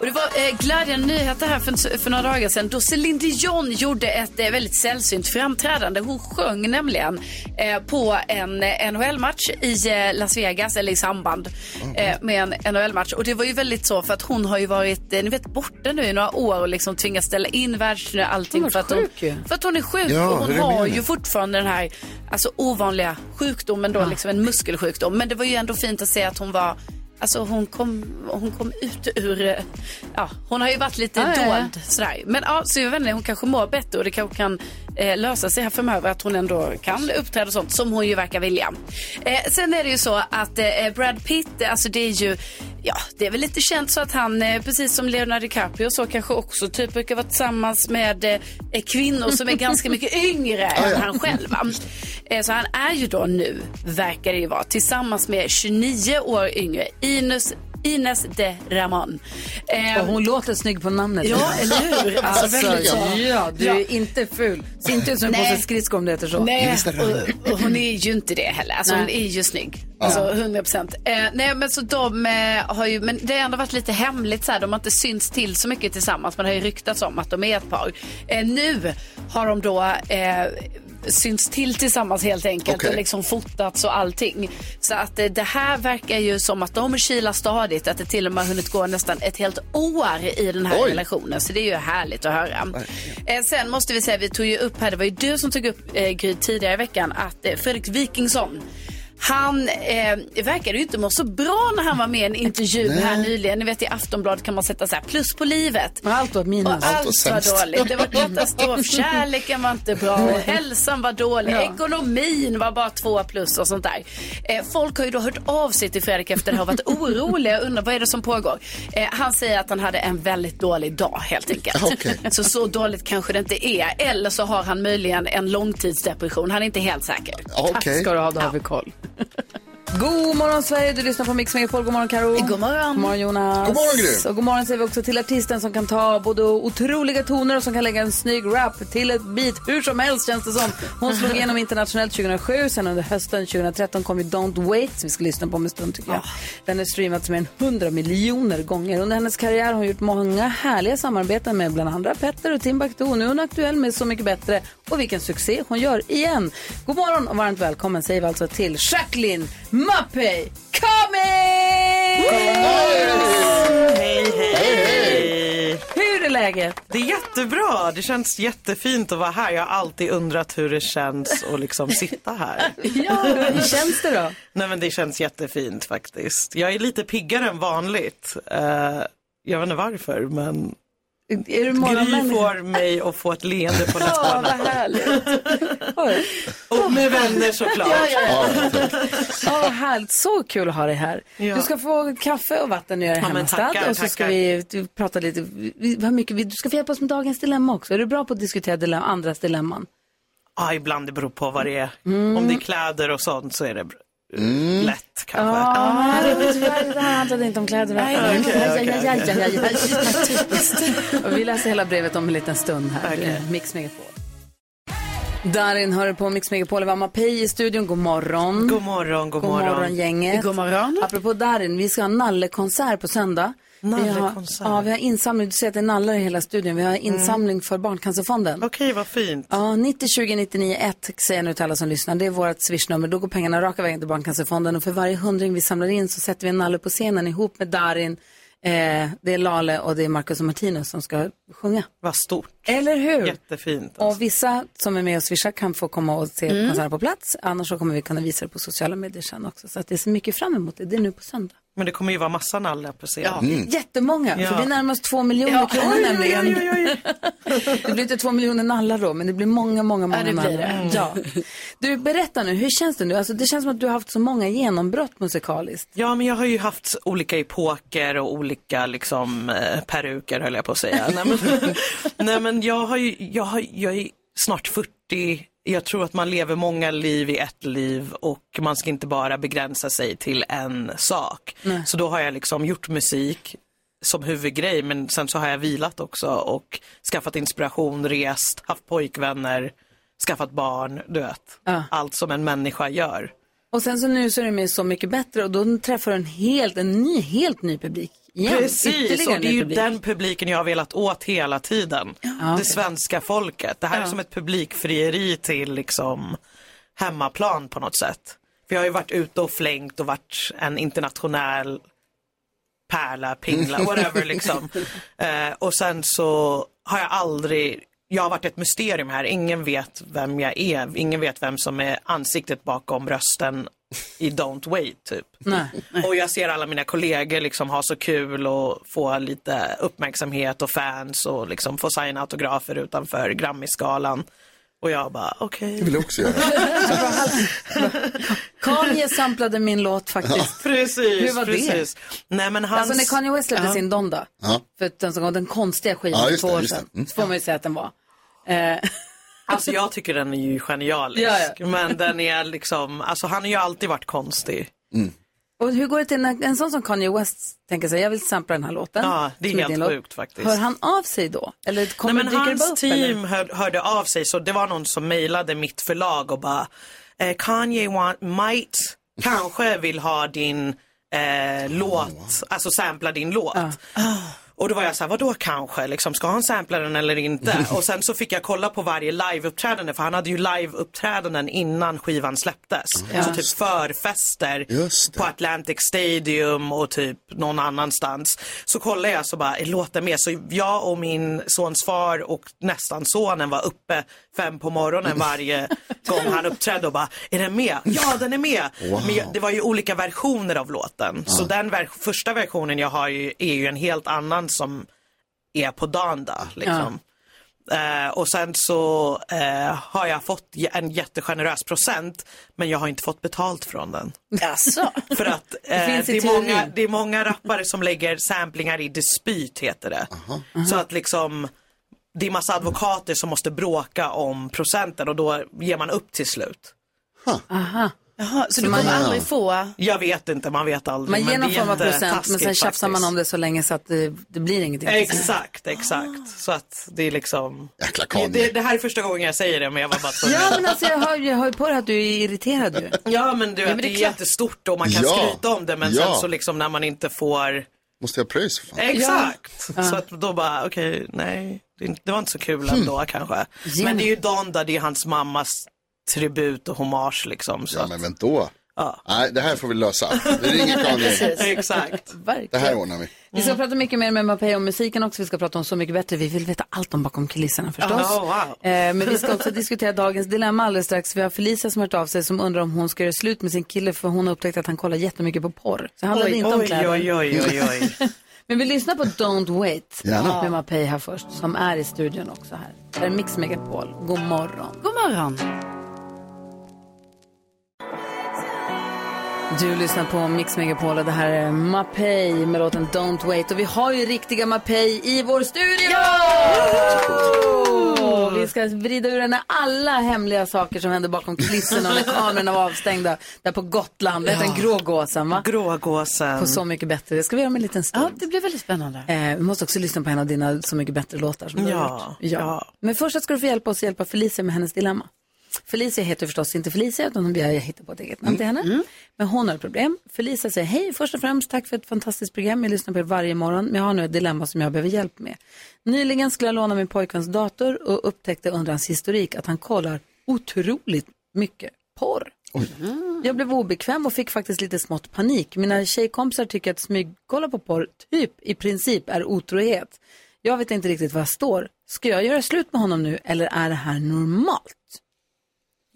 Speaker 3: och det var eh, glädjande nyheter här för, för några dagar sedan då Céline Dion gjorde ett eh, väldigt sällsynt framträdande. Hon sjöng nämligen eh, på en eh, NHL-match i eh, Las Vegas, eller i samband eh,
Speaker 1: Mm.
Speaker 3: med en NHL-match. Och det var ju väldigt så för att hon har ju varit, eh, ni vet, borta nu i några år och liksom tvingats ställa in världsturné och allting.
Speaker 1: Hon
Speaker 3: för,
Speaker 1: har varit
Speaker 3: att hon,
Speaker 1: sjuk ju.
Speaker 3: för att hon är sjuk
Speaker 1: Ja,
Speaker 3: och
Speaker 1: hur
Speaker 3: hon
Speaker 1: är det med
Speaker 3: har
Speaker 1: henne?
Speaker 3: ju fortfarande den här alltså, ovanliga sjukdomen då, liksom en muskelsjukdom. Men det var ju ändå fint att se att hon var Alltså hon kom, hon kom ut ur, eh, ja hon har ju varit lite
Speaker 1: Ja, ja, ja.
Speaker 3: dold sådär. Men ja, så jag vet inte, hon kanske mår bättre och det kanske kan eh, lösa sig här framöver. Att hon ändå kan uppträda och sånt, som hon ju verkar vilja. Eh, sen är det ju så att eh, Brad Pitt, alltså det är ju, ja, det är väl lite känt så att han, eh, precis som Leonardo DiCaprio, så kanske också typ brukar vara tillsammans med eh, kvinnor som är ganska mycket yngre än han själv. va? Eh, så han är ju då nu, verkar det ju vara, tillsammans med 29 år yngre, Ines Ines de Ramon. Eh,
Speaker 1: Och hon låter snygg på namnet.
Speaker 3: Ja, eller hur?
Speaker 1: Alltså,
Speaker 3: Alltså, väldigt så.
Speaker 1: ja, du
Speaker 3: Ja.
Speaker 1: är inte ful. Ser inte ut som en
Speaker 3: Nej.
Speaker 1: påse skridskor om det heter så.
Speaker 3: Nej, och, och hon är ju inte det heller. Alltså,
Speaker 1: Nej.
Speaker 3: hon är ju snygg.
Speaker 1: Ja.
Speaker 3: Alltså, 100 procent. Eh, nej, men så de eh, har ju, men det har ändå varit lite hemligt så här. De har inte synts till så mycket tillsammans. Men det har ju ryktats om att de är ett par. Eh, nu har de då eh, syns till tillsammans helt enkelt
Speaker 1: Okej.
Speaker 3: och liksom fotats och allting. Så att eh, det här verkar ju som att de kilar stadigt, att det till och med har hunnit gå nästan ett helt år i den här
Speaker 1: Oj.
Speaker 3: relationen. Så det är ju härligt att höra. Eh, sen måste vi säga, vi tog ju upp här, det var ju du som tog upp eh, Gry tidigare i veckan, att eh, Fredrik Wikingsson han eh, verkade ju inte må så bra när han var med i en intervju här nyligen. Ni vet i Aftonbladet kan man sätta så här plus på livet.
Speaker 1: Och allt var minus.
Speaker 3: Och allt var dåligt. Det var katastrof. Mm. Kärleken var inte bra. Och hälsan var dålig.
Speaker 1: Ja.
Speaker 3: Ekonomin var bara två plus och sånt där. Eh, folk har ju då hört av sig till Fredrik efter det här och varit oroliga och undrar vad är det som pågår. Eh, han säger att han hade en väldigt dålig dag helt enkelt. Så så dåligt kanske det inte är. Eller så har han möjligen en långtidsdepression. Han är inte helt säker.
Speaker 1: Tack ska du ha, då har vi koll. God morgon Sverige, du lyssnar på Mix Megapol. God morgon Karo. God
Speaker 3: morgon.
Speaker 1: God morgon Jonas.
Speaker 3: God morgon, Gry.
Speaker 1: Och god morgon säger vi också till artisten som kan ta både otroliga toner och som kan lägga en snygg rap till ett beat. Hur som helst känns det som. Hon slog igenom internationellt 2007. Sen under hösten 2013 kom ju Don't Wait som vi ska lyssna på om en stund tycker jag.
Speaker 3: Ah.
Speaker 1: Den är streamats mer än 100 miljoner gånger. Under hennes karriär har hon gjort många härliga samarbeten med bland andra Petter och Timbuktu. Nu är hon aktuell med Så mycket bättre och vilken succé hon gör igen. God morgon och varmt välkommen säger vi alltså till Jacqueline Mappey Cummings!
Speaker 18: Hej, hej!
Speaker 1: Hur är läget?
Speaker 18: Det är jättebra. Det känns jättefint att vara här. Jag har alltid undrat hur det känns att liksom sitta här.
Speaker 1: Ja, hur känns det då?
Speaker 18: Nej men det känns jättefint faktiskt. Jag är lite piggare än vanligt. Eh, jag vet inte varför men
Speaker 1: Är du
Speaker 18: Gry
Speaker 1: morgonmänniska?
Speaker 18: får mig att få ett leende på
Speaker 1: Ja,
Speaker 18: läpparna.
Speaker 1: vad härligt.
Speaker 18: Och med vänner såklart.
Speaker 1: Ja, ja, ja. Ja, vad härligt. Så kul att ha dig här. Du ska få kaffe och vatten när du är
Speaker 18: Ja, men
Speaker 1: hemmastad.
Speaker 18: tackar,
Speaker 1: och så ska
Speaker 18: tackar.
Speaker 1: vi du, prata lite. Vi, vad mycket, vi, du ska få hjälpa oss med dagens dilemma också. Är du bra på att diskutera dilemma, andras dilemman?
Speaker 18: Ja, ibland det beror på vad det är.
Speaker 1: Mm.
Speaker 18: Om det är kläder och sånt så är det br- lätt kanske.
Speaker 1: Ja, det var tyvärr, det här handlade inte om kläder.
Speaker 18: Nej, okej, okej,
Speaker 1: Ja, ja, ja, ja, ja,
Speaker 18: okej.
Speaker 1: ja. Typiskt. Och Vi läser hela brevet om en liten stund här. Eh, Mix Megapol. Darin hör du på Mix Megapol. Vi har Mapei i studion. God morgon.
Speaker 18: God morgon, god
Speaker 1: morgon.
Speaker 18: morgon.
Speaker 1: gänget. God morgon. Apropå Darin, vi ska ha en nallekonsert på söndag. Vi har-
Speaker 18: Nallekonsert.
Speaker 1: Ja, vi har insamling. Du ser att det är nallar i hela studion. Vi har insamling för Barncancerfonden.
Speaker 18: Okej, vad fint.
Speaker 1: Ja, 90 20 99 1 säger jag nu till alla som lyssnar. Det är vårt swishnummer. Då går pengarna raka vägen till Barncancerfonden. Och för varje hundring vi samlar in så sätter vi en nalle på scenen ihop med Darin. Eh, det är Lale och det är Marcus och Martinus som ska sjunga.
Speaker 18: Vad stort.
Speaker 1: Eller hur?
Speaker 18: Jättefint. alltså.
Speaker 1: Och vissa som är med och swishar kan få komma och se
Speaker 18: Mm.
Speaker 1: konserten på plats. Annars så kommer vi kunna visa det på sociala medier sen också. Så att det är så mycket fram emot det. Det är nu på söndag.
Speaker 18: Men det kommer ju vara massa nallar på scenen.
Speaker 1: Ja, Jättemånga,
Speaker 18: Mm. Ja.
Speaker 1: för vi närmar oss två miljoner
Speaker 18: Ja.
Speaker 1: kronor
Speaker 18: Oj, oj, oj,
Speaker 1: nämligen. det blir inte två miljoner nallar då, men det blir många, många, många
Speaker 3: Ja, det blir det.
Speaker 1: nallar.
Speaker 3: Mm.
Speaker 1: Ja. Du, berätta nu, hur känns det nu? Alltså, det känns som att du har haft så många genombrott musikaliskt.
Speaker 18: Ja, men jag har ju haft olika epoker och olika liksom eh, peruker höll jag på att säga. Nej, men, nej, men jag har ju, jag, har, jag är snart 40. Jag tror att man lever många liv i ett liv och man ska inte bara begränsa sig till en sak. Så då har jag liksom gjort musik som huvudgrej men sen så har jag vilat också och skaffat inspiration, rest, haft pojkvänner, skaffat barn, du vet. Allt som en människa gör.
Speaker 1: Och sen så nu så är du med Så mycket bättre och då träffar du en helt, en ny, helt ny publik. Igen.
Speaker 18: Precis,
Speaker 1: Ytterligare
Speaker 18: och det är
Speaker 1: ny
Speaker 18: ju
Speaker 1: publik.
Speaker 18: den publiken jag har velat åt hela tiden. Det svenska folket. Det här är som ett publikfrieri till liksom hemmaplan på något sätt. För jag har ju varit ute och flängt och varit en internationell pärla, pingla, whatever liksom. Eh, och sen så har jag aldrig, jag har varit ett mysterium här. Ingen vet vem jag är. Ingen vet vem som är ansiktet bakom rösten i Don't Wait typ. Och jag ser alla mina kollegor liksom ha så kul och få lite uppmärksamhet och fans och liksom få signa autografer utanför Grammisgalan. Och jag bara, okej.
Speaker 2: Det vill jag också göra.
Speaker 1: Kanye samplade min låt faktiskt.
Speaker 18: Precis,
Speaker 1: Hur var
Speaker 18: precis. Det? Nej, men
Speaker 1: det?
Speaker 18: hans...
Speaker 1: Alltså när Kanye West släppte
Speaker 18: Ja.
Speaker 1: sin Donda, för den som gav den konstiga skivan
Speaker 18: Ja,
Speaker 1: för
Speaker 18: just
Speaker 1: två
Speaker 18: det,
Speaker 1: år
Speaker 18: just det.
Speaker 1: sedan,
Speaker 18: Mm.
Speaker 1: så får man ju säga att den var. Eh,
Speaker 18: Alltså jag tycker den är ju genialisk.
Speaker 1: Ja,
Speaker 18: Men den är liksom, alltså han har ju alltid varit konstig.
Speaker 1: och hur går det till när en sån som Kanye West tänker sig, jag vill sampla den här låten.
Speaker 18: Ja, det är
Speaker 1: som
Speaker 18: helt
Speaker 1: din låt.
Speaker 18: sjukt faktiskt.
Speaker 1: Hör han av sig då? Eller kommer
Speaker 18: Nej,
Speaker 1: dyker
Speaker 18: men
Speaker 1: det bara
Speaker 18: hans
Speaker 1: upp? eller?
Speaker 18: team hör, hörde av sig, så det var någon som mejlade mitt förlag och bara, eh, Kanye want, might, kanske vill ha din eh, låt, alltså sampla din låt. Ah. Och då var jag så här, vadå kanske, liksom, ska han sampla den eller inte? och sen så fick jag kolla på varje liveuppträdande, för han hade ju liveuppträdanden innan skivan släpptes.
Speaker 2: Ja.
Speaker 18: Så typ förfester på Atlantic Stadium och typ någon annanstans. Så kollade jag så bara, är låten med? Så jag och min sons far och nästan sonen var uppe fem på morgonen varje gång han uppträdde och bara, är den med? Ja, den är med!
Speaker 19: Wow.
Speaker 18: Men jag- det var ju olika versioner av låten. Så den ver- första versionen jag har ju, är ju en helt annan som är på dagen då, liksom. Eh, och sen så eh, har jag fått j- en jättegenerös procent men jag har inte fått betalt från den.
Speaker 1: Jaså?
Speaker 18: För att eh,
Speaker 1: Det
Speaker 18: det,
Speaker 1: finns i
Speaker 18: är många,
Speaker 1: teorin.
Speaker 18: det är många rappare som lägger samplingar i dispyt heter det. Så att liksom det är massa advokater som måste bråka om procenten och då ger man upp till slut.
Speaker 1: Aha.
Speaker 3: Jaha, så,
Speaker 18: Så
Speaker 3: du kommer
Speaker 2: eh,
Speaker 18: man-
Speaker 3: aldrig få...
Speaker 18: Jag vet inte, man vet aldrig.
Speaker 1: Man
Speaker 18: men
Speaker 1: ger någon
Speaker 18: det är
Speaker 1: form av
Speaker 18: jättetaskigt
Speaker 1: procent, men sen tjafsar man
Speaker 18: faktiskt.
Speaker 1: om det så länge så att det, det blir ingenting.
Speaker 18: Exakt, exakt. Så att det är liksom...
Speaker 2: Jäkla
Speaker 1: Kanye.
Speaker 18: det, det här är första gången jag säger det men jag var bara tvungen.
Speaker 1: Ja, men alltså jag hör, jag hör ju på det att du är irriterad
Speaker 18: Mm.
Speaker 1: ju.
Speaker 18: Ja men du vet,
Speaker 1: men det
Speaker 18: det
Speaker 1: är
Speaker 18: är
Speaker 1: klart.
Speaker 18: jättestort och man kan
Speaker 2: Ja.
Speaker 18: skryta om det men
Speaker 2: Ja.
Speaker 18: sen så liksom när man inte får
Speaker 2: Måste jag pröjs för fan?
Speaker 18: Exakt! Så att då bara, okej, nej, det, är inte- det var inte så kul
Speaker 1: Hmm.
Speaker 18: ändå kanske. Men det är ju Donda, det är hans mammas tribut och hommage liksom. Så
Speaker 2: Ja,
Speaker 18: att-
Speaker 2: men vänta då. Nej, det här får vi lösa. Vi ringer Kanye.
Speaker 1: Precis. Verkligen.
Speaker 2: Det här ordnar vi.
Speaker 1: Vi ska prata mycket mer med Mapei om musiken också. Vi ska prata om Så mycket bättre. Vi vill veta allt om bakom kulisserna förstås.
Speaker 18: Oh, wow.
Speaker 1: Eh, Men vi ska också diskutera dagens dilemma alldeles strax. Vi har Felicia som hört av sig som undrar om hon ska göra slut med sin kille för hon har upptäckt att han kollar jättemycket på porr. Så det handlar
Speaker 18: Oj,
Speaker 1: inte om
Speaker 18: oj,
Speaker 1: kläder.
Speaker 18: oj, oj, oj, oj.
Speaker 1: Men vi lyssnar på Don't Wait
Speaker 18: Gärna.
Speaker 1: med Mapei här först som är i studion också här. Det här är Mix Megapol. God morgon.
Speaker 3: God morgon.
Speaker 1: Du lyssnar på Mix Megapol och det här är Mapei med låten Don't Wait. Och vi har ju riktiga Mapei i vår studio! Woho! Vi ska vrida ur henne alla hemliga saker som händer bakom kulisserna och när kamerorna var avstängda där på Gotland. Det hette den grå gåsen va?
Speaker 18: Grågåsen.
Speaker 1: På Så mycket bättre. Det ska vi göra om en liten stund.
Speaker 3: Det blir väldigt spännande.
Speaker 1: Eh, vi måste också lyssna på en av dina Så mycket bättre-låtar som du har
Speaker 18: Ja,
Speaker 1: gjort. Ja. Men först så ska du få hjälpa oss att hjälpa Felicia med hennes dilemma. Felicia heter förstås inte Felicia, utan hon- jag hittar på ett eget namn till
Speaker 3: Mm,
Speaker 1: henne. Men hon har ett problem. Felicia säger, hej, först och främst tack för ett fantastiskt program. Jag lyssnar på er varje morgon, men jag har nu ett dilemma som jag behöver hjälp med. Nyligen skulle jag låna min pojkväns dator och upptäckte under hans historik att han kollar otroligt mycket porr. Jag blev obekväm och fick faktiskt lite smått panik. Mina tjejkompisar tycker att smygkolla på porr typ i princip är otrohet. Jag vet inte riktigt var jag står. Ska jag göra slut med honom nu eller är det här normalt?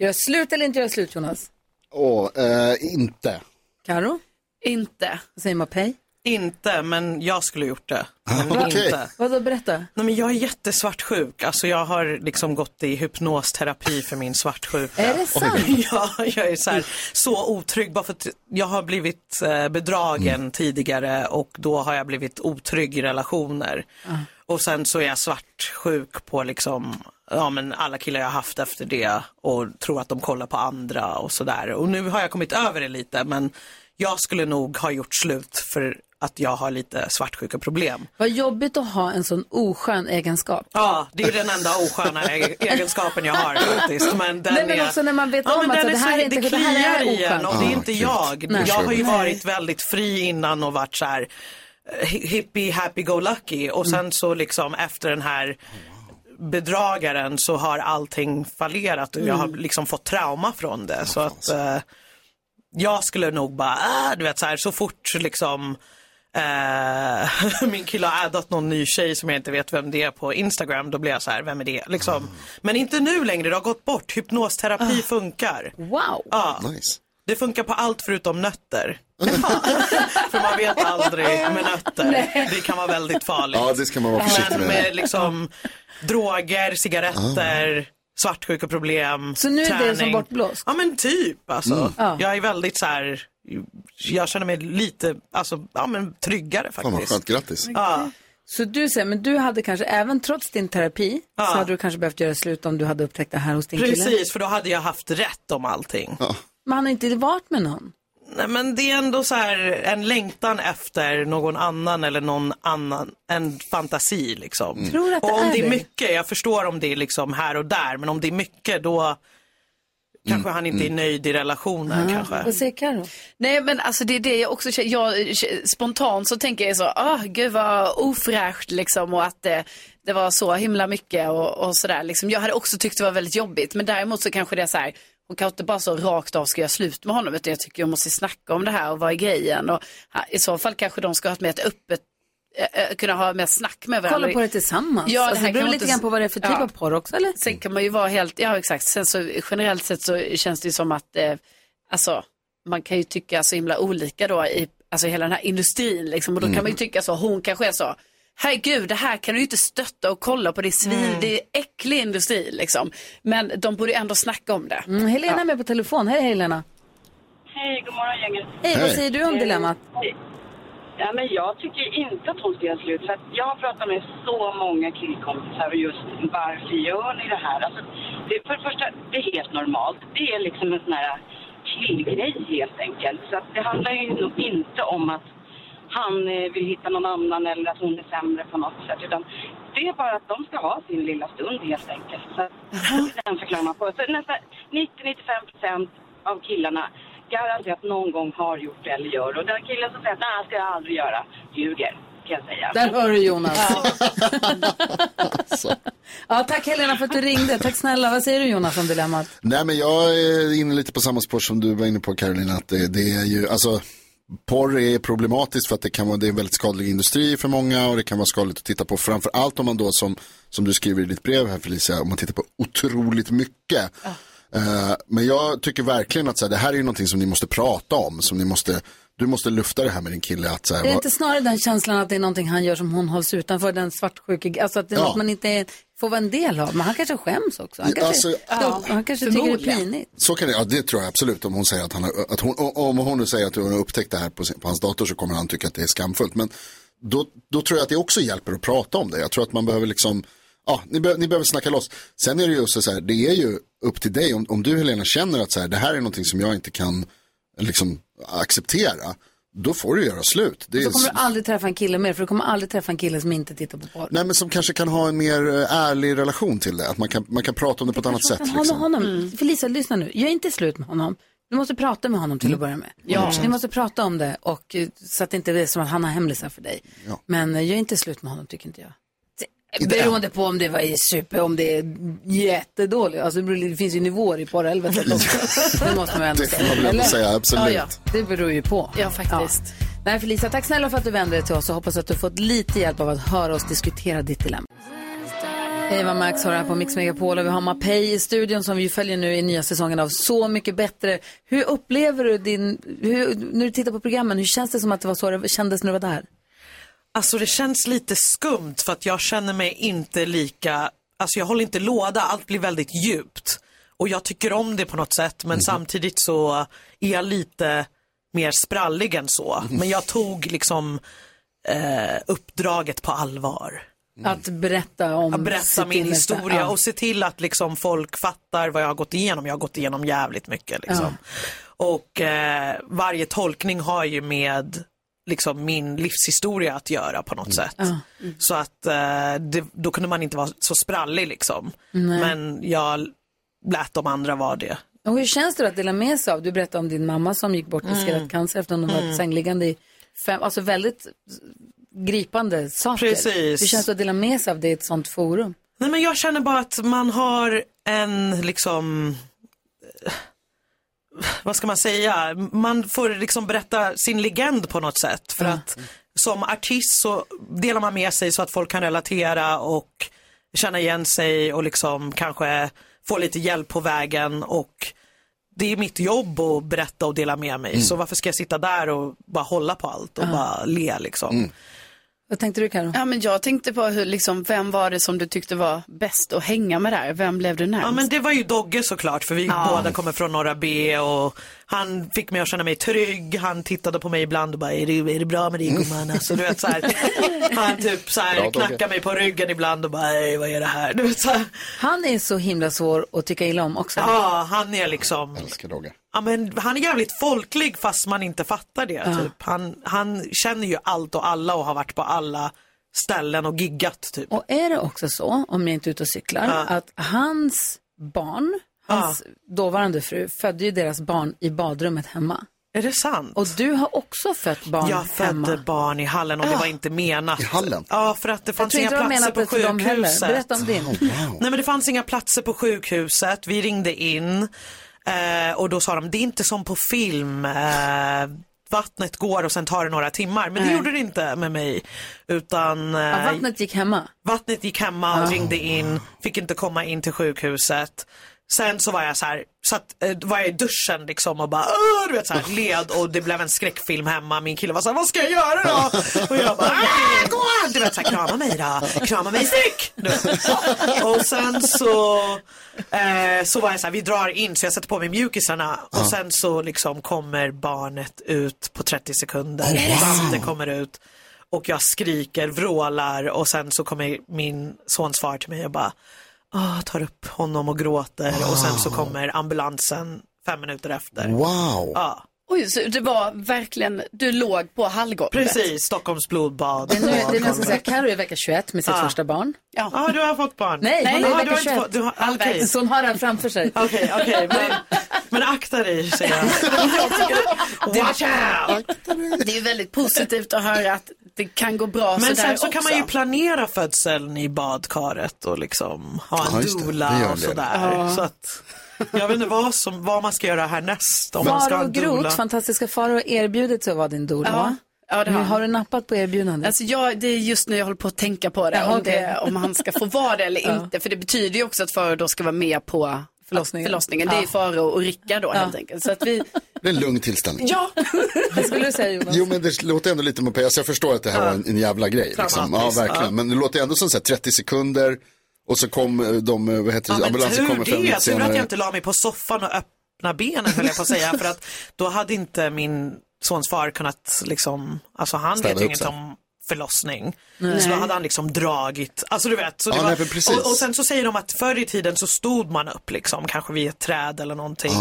Speaker 1: Gör slut eller inte gör slut Jonas?
Speaker 2: Åh, eh, inte.
Speaker 1: Karo?
Speaker 3: Inte.
Speaker 1: Vad säger Mapei?
Speaker 18: Inte, men jag skulle gjort det. Men
Speaker 1: Va-
Speaker 18: inte.
Speaker 1: Vadå, berätta.
Speaker 18: Nej, men jag är jättesvartsjuk. Alltså, jag har liksom gått i hypnosterapi för min svartsjuka.
Speaker 1: Är det sant?
Speaker 18: Ja, jag är så, här, så otrygg bara för att jag har blivit eh, bedragen
Speaker 1: Mm.
Speaker 18: tidigare och då har jag blivit otrygg i relationer.
Speaker 1: Ah.
Speaker 18: Och sen så är jag svartsjuk på liksom, ja, men alla killar jag har haft efter det och tror att de kollar på andra och sådär. Och nu har jag kommit över det lite men jag skulle nog ha gjort slut för att jag har lite svartsjuka problem.
Speaker 1: Vad jobbigt att ha en sån oskön egenskap.
Speaker 18: Ja, det är den enda osköna e- egenskapen jag har faktiskt. Men den
Speaker 1: Nej, men
Speaker 18: är...
Speaker 1: också när man vet
Speaker 18: ja,
Speaker 1: om
Speaker 18: men
Speaker 1: att
Speaker 18: den
Speaker 1: så, det här
Speaker 18: så-
Speaker 1: är inte-
Speaker 18: det
Speaker 1: det här är
Speaker 18: kliar
Speaker 1: oskönt.
Speaker 18: igen och det
Speaker 1: Ah,
Speaker 18: är inte
Speaker 1: gud.
Speaker 18: jag.
Speaker 1: Nej.
Speaker 18: Jag har ju
Speaker 1: Nej.
Speaker 18: varit väldigt fri innan och varit så här eh, hi- hippie, happy go lucky och sen så liksom efter den här bedragaren så har allting fallerat och jag har
Speaker 3: Mm.
Speaker 18: liksom fått trauma från det. Så att eh, jag skulle nog bara, ah, du vet så här så fort liksom eh, min kille har addat någon ny tjej som jag inte vet vem det är på Instagram, då blir jag så här, vem är det? Liksom. Men inte nu längre, det har gått bort. Hypnosterapi funkar.
Speaker 1: Wow!
Speaker 18: Ja. Det funkar på allt förutom nötter. För man vet aldrig med nötter. Det kan vara väldigt farligt.
Speaker 2: Ja, det ska man vara försiktig
Speaker 18: Men
Speaker 2: med. Ah.
Speaker 18: med liksom droger, cigaretter, svartsjukeproblem,
Speaker 1: Så nu är det
Speaker 18: träning.
Speaker 1: som bortblåst?
Speaker 18: Ja men typ alltså.
Speaker 1: Mm. Ja.
Speaker 18: Jag är väldigt så här, jag känner mig lite, alltså, ja men tryggare
Speaker 2: Fan vad
Speaker 18: faktiskt.
Speaker 2: skönt, grattis.
Speaker 18: Ja.
Speaker 1: Så du säger, men du hade kanske, även trots din terapi, så hade du kanske behövt göra slut om du hade upptäckt det här hos din kille?
Speaker 18: Precis, för då hade jag haft rätt om allting.
Speaker 1: Men han har inte varit med någon?
Speaker 18: Nej men det är ändå så här en längtan efter någon annan eller någon annan, en fantasi liksom.
Speaker 1: Mm. Tror att det
Speaker 18: och om
Speaker 1: är
Speaker 18: det är
Speaker 1: det?
Speaker 18: mycket, jag förstår om det är liksom här och där, men om det är mycket då
Speaker 1: Mm.
Speaker 18: kanske han inte är nöjd i relationen kanske.
Speaker 1: Vad säger Karo?
Speaker 3: Nej men alltså det är det jag också känner, jag, eh, spontant så tänker jag så, ah gud vad ofräscht liksom och att eh, det var så himla mycket och, och sådär liksom. Jag hade också tyckt det var väldigt jobbigt men däremot så kanske det är så här, hon kanske inte bara så rakt av ska göra slut med honom utan jag tycker jag måste snacka om det här och vad är grejen och ha- i så fall kanske de ska ha ett mer ett öppet, eh, eh, kunna ha mer snack med varandra.
Speaker 1: Kolla på det tillsammans.
Speaker 3: Ja, det
Speaker 1: alltså,
Speaker 3: här
Speaker 1: det beror
Speaker 3: kan
Speaker 1: lite
Speaker 3: inte-
Speaker 1: grann på vad det är för typ
Speaker 3: Ja.
Speaker 1: av porr också eller?
Speaker 3: Sen kan man ju vara helt, ja exakt, sen så generellt sett så känns det ju som att, eh, alltså man kan ju tycka så himla olika då i, alltså hela den här industrin liksom och då kan man ju tycka så, hon kanske är så, herregud det här kan du ju inte stötta och kolla på, det är svin, det är äcklig industri liksom. Men de borde ju ändå snacka om det.
Speaker 1: Mm, Helena är med på telefon. Hej Helena.
Speaker 19: Hej, god morgon gänget.
Speaker 1: Hej, vad säger du om
Speaker 19: Eh,
Speaker 1: dilemmat?
Speaker 19: Ja, men jag tycker inte att hon ska göra slut. För att jag har pratat med så många killkompisar och just varför gör ni det här? Alltså, det, för det första, det är helt normalt. Det är liksom en sån här killgrej helt enkelt. Så att det handlar ju nog inte om att han eh, vill hitta någon annan eller att hon är sämre på något sätt. Utan det är bara att de ska ha sin lilla stund helt enkelt. Så att, den förklarar man på. Så nästan 90-95 procent av killarna garanterat någon gång har gjort det eller gör det. Och den killen som säger att nej, ska jag aldrig göra, ljuger kan jag säga.
Speaker 1: Där hör du Jonas. ja, tack Helena för att du ringde. Tack snälla. Vad säger du Jonas om dilemmat?
Speaker 2: Nej men jag är inne lite på samma spår som du var inne på Caroline, att det, det är ju, alltså porr är problematiskt för att det kan vara, det är en väldigt skadlig industri för många och det kan vara skadligt att titta på, framför allt om man då som, som du skriver i ditt brev här Felicia, om man tittar på otroligt mycket. Eh, men jag tycker verkligen att så här, det här är ju någonting som ni måste prata om, som ni måste, du måste lufta det här med din kille att så här,
Speaker 1: Är det
Speaker 2: vad-
Speaker 1: inte snarare den känslan att det är någonting han gör som hon hålls utanför, den svartsjuke, alltså att det är
Speaker 2: Ja.
Speaker 1: något man inte får vara en del av. Men han kanske skäms också. Han
Speaker 2: Ja,
Speaker 1: kanske,
Speaker 2: alltså-
Speaker 1: ja, han kanske tycker det är pinigt.
Speaker 2: Så kan det, ja det tror jag absolut. Om hon säger att han har, att hon, om hon nu säger att hon har upptäckt det här på, sin, på hans dator så kommer han tycka att det är skamfullt. Men då, då tror jag att det också hjälper att prata om det. Jag tror att man behöver liksom, ja ni, be, ni behöver snacka loss. Sen är det ju också så här, det är ju upp till dig. Om, om du Helena känner att så här, det här är någonting som jag inte kan liksom acceptera. Då får du göra slut. Det
Speaker 1: Så
Speaker 2: är,
Speaker 1: Alltså, kommer du aldrig träffa en kille mer, för du kommer aldrig träffa en kille som inte tittar på porr.
Speaker 2: nej men som kanske kan ha en mer eh, ärlig relation till det. Att man kan, man kan prata om det på ett annat sätt.
Speaker 1: Prata
Speaker 2: Liksom.
Speaker 1: med honom. Felicia, lyssna nu. Jag är inte slut med honom. Du måste prata med honom till att börja med.
Speaker 2: Mm. Ja.
Speaker 1: Ni måste prata om det och, eh, så att det inte är som att han har hemlisar för dig.
Speaker 2: Ja.
Speaker 1: Men eh, jag är inte slut med honom, tycker inte jag. Det-
Speaker 2: Inte än.
Speaker 1: Beroende på om det var i super, om det är jättedåligt. Alltså, det beror- det finns ju nivåer i porrhelvetet också. Det måste man ju ändå
Speaker 2: Det får man väl ändå
Speaker 1: eller?
Speaker 2: säga, absolut.
Speaker 1: Ja, ja. Det beror ju på. Ja, faktiskt. Nej, Felicia, tack snälla för att du vände dig till oss och hoppas att du fått lite hjälp av att höra oss diskutera ditt dilemma. Hej, vad Max har här på Mix Megapol och vi har Mapei i studion som vi följer nu i nya säsongen av Så mycket bättre. Hur upplever du din, hur, när du tittar på programmen, hur känns det som att det var så det kändes när du var där?
Speaker 18: Alltså det känns lite skumt för att jag känner mig inte lika, alltså jag håller inte låda, allt blir väldigt djupt. Och jag tycker om det på något sätt men samtidigt så är jag lite mer sprallig än så. Men jag tog liksom eh, uppdraget på allvar.
Speaker 1: Att berätta om
Speaker 18: Mm. Att berätta
Speaker 1: sitt
Speaker 18: min
Speaker 1: innersta.
Speaker 18: historia
Speaker 1: Ja.
Speaker 18: och se till att liksom folk fattar vad jag har gått igenom. Jag har gått igenom jävligt mycket. Liksom. Och eh, varje tolkning har ju med liksom, min livshistoria att göra på
Speaker 1: Mm.
Speaker 18: något sätt. Så att eh, det, då kunde man inte vara så sprallig liksom.
Speaker 1: Nej.
Speaker 18: Men jag lät de andra vara det.
Speaker 1: Och hur känns det då att dela med sig av? Du berättade om din mamma som gick bort i
Speaker 18: Mm.
Speaker 1: skelettcancer efter att hon varit
Speaker 18: Mm.
Speaker 1: sängliggande i fem, alltså väldigt gripande saker.
Speaker 18: Precis.
Speaker 1: Hur känns det att dela med sig av det i ett sånt forum?
Speaker 18: Nej men jag känner bara att man har en liksom eh, vad ska man säga, man får liksom berätta sin legend på något sätt för att som artist så delar man med sig så att folk kan relatera och känna igen sig och liksom kanske få lite hjälp på vägen och det är mitt jobb att berätta och dela med mig så varför ska jag sitta där och bara hålla på allt och bara le liksom.
Speaker 1: Vad tänkte du Karo?
Speaker 3: Ja, men jag tänkte på hur, liksom, vem var det som du tyckte var bäst att hänga med där? Vem blev du närmast?
Speaker 18: Ja men det var ju Dogge såklart för vi
Speaker 3: Ja.
Speaker 18: båda kommer från Norra B och han fick mig att känna mig trygg. Han tittade på mig ibland och bara, är det, är det bra med dig gumman? Alltså, du vet, så här, han typ så
Speaker 1: Bra,
Speaker 18: här,
Speaker 1: Dogge.
Speaker 18: knackade mig på ryggen ibland och bara, "Ey, vad är det här? Du vet, så här.
Speaker 1: Han är så himla svår att tycka illa om också.
Speaker 18: Ja, han är liksom,
Speaker 2: Älskar Dogge.
Speaker 18: ja, men, han är jävligt folklig fast man inte fattar det.
Speaker 1: Ja.
Speaker 18: Typ. Han, han känner ju allt och alla och har varit på alla ställen och giggat typ.
Speaker 1: Och är det också så, om jag inte är ute och cyklar,
Speaker 18: Ja.
Speaker 1: att hans barn, hans dåvarande fru, födde ju deras barn i badrummet hemma.
Speaker 18: Är det sant?
Speaker 1: Och du har också fött barn
Speaker 18: jag födde
Speaker 1: hemma.
Speaker 18: barn i hallen och det
Speaker 1: Ja.
Speaker 18: var inte menat. I
Speaker 2: hallen?
Speaker 18: Ja, för att det fanns
Speaker 1: tror
Speaker 18: inga
Speaker 1: inte de
Speaker 18: platser
Speaker 1: menade
Speaker 18: på
Speaker 1: det till dem heller.
Speaker 18: sjukhuset.
Speaker 1: Berätta om
Speaker 2: Oh,
Speaker 1: din.
Speaker 18: Nej men det fanns inga platser på sjukhuset, vi ringde in eh, och då sa de, det är inte som på film, eh, vattnet går och sen tar det några timmar. Men det
Speaker 1: Nej.
Speaker 18: gjorde det inte med mig. Utan eh,
Speaker 1: Ja, vattnet gick hemma.
Speaker 18: Vattnet gick hemma och
Speaker 1: Ah.
Speaker 18: ringde in, fick inte komma in till sjukhuset. Sen så var jag så här, satt, eh, var jag i duschen liksom och bara "Åh", du vet så här, led och det blev en skräckfilm hemma. Min kille var så här, vad ska jag göra då? Och jag bara, "Ah, gå! Du vet så här, krama mig då, krama mig styck! Du vet. Och sen så, eh, så var jag så här, vi drar in så jag sätter på mig mjukisarna och sen så liksom kommer barnet ut på 30 sekunder. Vattnet kommer ut. Och jag skriker, vrålar och sen så kommer min sons far till mig och bara "Ah", tar upp honom och gråter och sen så kommer ambulansen fem minuter efter.
Speaker 2: Wow.
Speaker 18: Ja,
Speaker 3: Oj, så det var verkligen, du låg på hallgolvet.
Speaker 18: precis. Stockholms blodbad.
Speaker 1: Det är nu, det är nu jag ska säga, Carro är i vecka 21 med sitt
Speaker 18: Ja.
Speaker 1: första barn.
Speaker 3: Ja,
Speaker 18: ah, du har fått barn.
Speaker 1: Nej, hon
Speaker 18: Ah,
Speaker 1: är i vecka
Speaker 18: du har inte
Speaker 1: 21.
Speaker 18: fått- du har- okej.
Speaker 1: Så hon har den framför sig.
Speaker 18: Okej, okej. men, men akta dig säger jag. Watch out!
Speaker 3: Det är ju väldigt positivt att höra att det kan gå bra
Speaker 18: Men
Speaker 3: sådär
Speaker 18: sen så kan
Speaker 3: också.
Speaker 18: man ju planera födseln i badkaret och liksom ha
Speaker 2: Ja,
Speaker 18: en
Speaker 2: just det. Det gör
Speaker 18: doula
Speaker 2: en
Speaker 18: och
Speaker 2: del.
Speaker 18: sådär.
Speaker 1: Ja.
Speaker 18: Så att, jag vet inte vad, som, vad man ska göra härnäst. Om man ska ha
Speaker 1: Faro
Speaker 18: en doula.
Speaker 1: Groth, fantastiska Faro, har erbjudit sig att vara din doula.
Speaker 3: Ja.
Speaker 1: va?
Speaker 3: Ja, det har
Speaker 1: Men
Speaker 3: han.
Speaker 1: har du nappat på erbjudandet?
Speaker 3: Alltså jag, det är just nu jag håller på att tänka på det,
Speaker 1: Ja,
Speaker 3: om,
Speaker 1: okej.
Speaker 3: det om han ska få vara det eller inte. För det betyder ju också att Faro då ska vara med på förlossningen. Det är
Speaker 1: Ja.
Speaker 3: Faro och Rickard då helt enkelt. Så att vi,
Speaker 2: Det är en lugn tillställning.
Speaker 3: ja.
Speaker 1: Vad skulle du säga Jonas?
Speaker 2: Jo men det låter ändå lite muppet, Alltså, jag förstår att det här var en, en jävla grej. Liksom. Ja
Speaker 18: Dramatiskt,
Speaker 2: verkligen,
Speaker 18: ja.
Speaker 2: men det låter ändå som så här 30 sekunder och så kom eh, de, eh, vad heter
Speaker 18: Ja,
Speaker 2: det,
Speaker 18: men
Speaker 2: ambulansen
Speaker 18: tur
Speaker 2: kommer fem minuter
Speaker 18: det, tur att jag
Speaker 2: senare.
Speaker 18: inte la mig på soffan och öppna benen höll jag på att säga. för att då hade inte min sons far kunnat liksom, alltså han
Speaker 2: Städa
Speaker 18: vet
Speaker 2: upp
Speaker 18: ju inget
Speaker 2: sig.
Speaker 18: om förlossning.
Speaker 2: Nej.
Speaker 18: Så då hade han liksom dragit, alltså du vet. Så det
Speaker 2: Ja,
Speaker 18: var,
Speaker 2: nej, men precis.
Speaker 18: och, och sen så säger de att förr i tiden så stod man upp liksom, kanske vid ett träd eller någonting.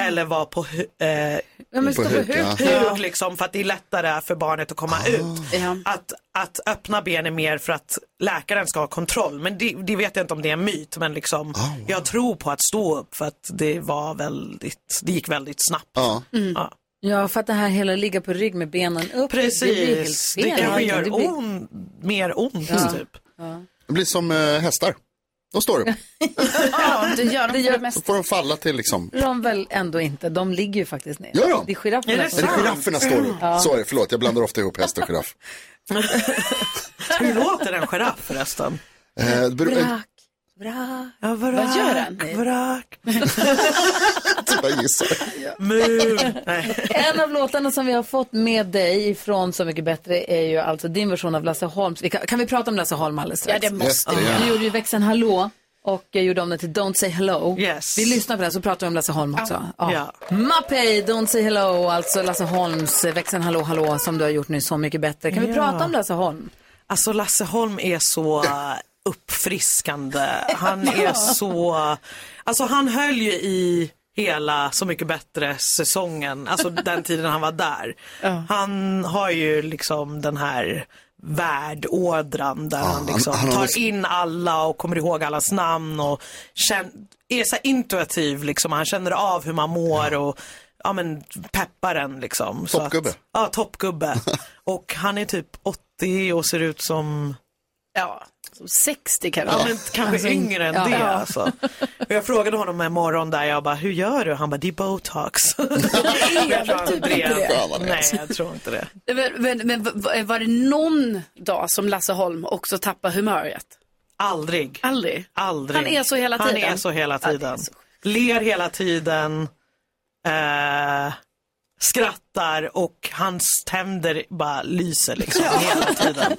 Speaker 18: Eller var på, hu- eh,
Speaker 1: Ja, men stå på huk.
Speaker 18: huk, huk liksom, för att det är lättare för barnet att komma
Speaker 1: Ah.
Speaker 18: ut. Att, att öppna ben är mer för att läkaren ska ha kontroll. Men det, det vet jag inte om det är en myt. Men liksom,
Speaker 1: Ah.
Speaker 18: jag tror på att stå upp för att det var väldigt, det gick väldigt snabbt.
Speaker 2: Ja.
Speaker 18: Ja.
Speaker 1: Ja, för att det här hela ligga på rygg med benen upp. Det blir helt
Speaker 18: Precis,
Speaker 1: fel.
Speaker 18: det,
Speaker 1: Ja,
Speaker 18: kanske gör
Speaker 1: det blir-
Speaker 18: on, mer ont
Speaker 1: Ja.
Speaker 18: typ.
Speaker 2: Det blir som eh, hästar, de står upp.
Speaker 3: ja, det gör de
Speaker 1: Det
Speaker 3: det
Speaker 1: gör-
Speaker 3: gör mest.
Speaker 2: Så får de falla till liksom.
Speaker 1: De väl ändå inte, de ligger ju faktiskt ner.
Speaker 2: Gör de?
Speaker 1: Det är girafferna
Speaker 2: Är det
Speaker 1: som ligger.
Speaker 2: girafferna står upp?
Speaker 1: Ja.
Speaker 2: Sorry, förlåt, jag blandar ofta ihop häst och giraff.
Speaker 18: Hur låter en giraff förresten?
Speaker 2: Eh, det beror, eh,
Speaker 1: Vrak, vrak.
Speaker 18: Ja,
Speaker 3: Vad gör den?
Speaker 18: Vrak,
Speaker 2: jag gissar.
Speaker 18: mu. Nej.
Speaker 1: En av låtarna som vi har fått med dig ifrån Så mycket bättre är ju alltså din version av Lasse Holms. Vi kan, kan vi prata om Lasse Holm alldeles strax?
Speaker 3: Ja, det måste
Speaker 2: Just det, vi. ja.
Speaker 1: Du gjorde ju växeln Hallå och jag gjorde om den till Don't say hello.
Speaker 18: Yes.
Speaker 1: Vi lyssnar på den så pratar vi om Lasse Holm också. Ja.
Speaker 18: Ja.
Speaker 1: Mappey, Don't say hello, alltså Lasse Holms växeln Hallå hallå som du har gjort nu Så mycket bättre. Kan vi
Speaker 18: Ja.
Speaker 1: prata om Lasse Holm?
Speaker 18: Alltså Lasse Holm är så eh, uppfriskande. Han är så, alltså han höll ju i hela Så mycket bättre säsongen, alltså den tiden han var där. Han har ju liksom den här värdådran där han
Speaker 2: han-
Speaker 18: liksom
Speaker 2: han har något-
Speaker 18: tar in alla och kommer ihåg allas namn och känn, är så här intuitiv liksom. Han känner av hur man mår och ja men peppar en liksom. Så att-
Speaker 2: Toppgubbe.
Speaker 18: Ja, toppgubbe. och han är typ 80 och ser ut som,
Speaker 3: Ja, som 60 kanske.
Speaker 18: ja men kanske yngre än
Speaker 3: ja.
Speaker 18: det
Speaker 3: Ja.
Speaker 18: alltså. Och jag frågade honom en morgon där, jag bara, hur gör du? Han bara, det är botox. jag tror han drev.
Speaker 2: Fan, vad det är.
Speaker 18: Nej, jag tror inte det.
Speaker 3: Men, men, men v- var det någon dag som Lasse Holm också tappar humöret?
Speaker 18: Aldrig.
Speaker 3: Aldrig.
Speaker 18: Aldrig.
Speaker 3: Han är så hela
Speaker 18: Han
Speaker 3: tiden.
Speaker 18: är så hela
Speaker 3: Ja, det är
Speaker 18: tiden.
Speaker 3: så
Speaker 18: Ler hela tiden. Eh, skrattar och hans tänder bara lyser liksom hela tiden.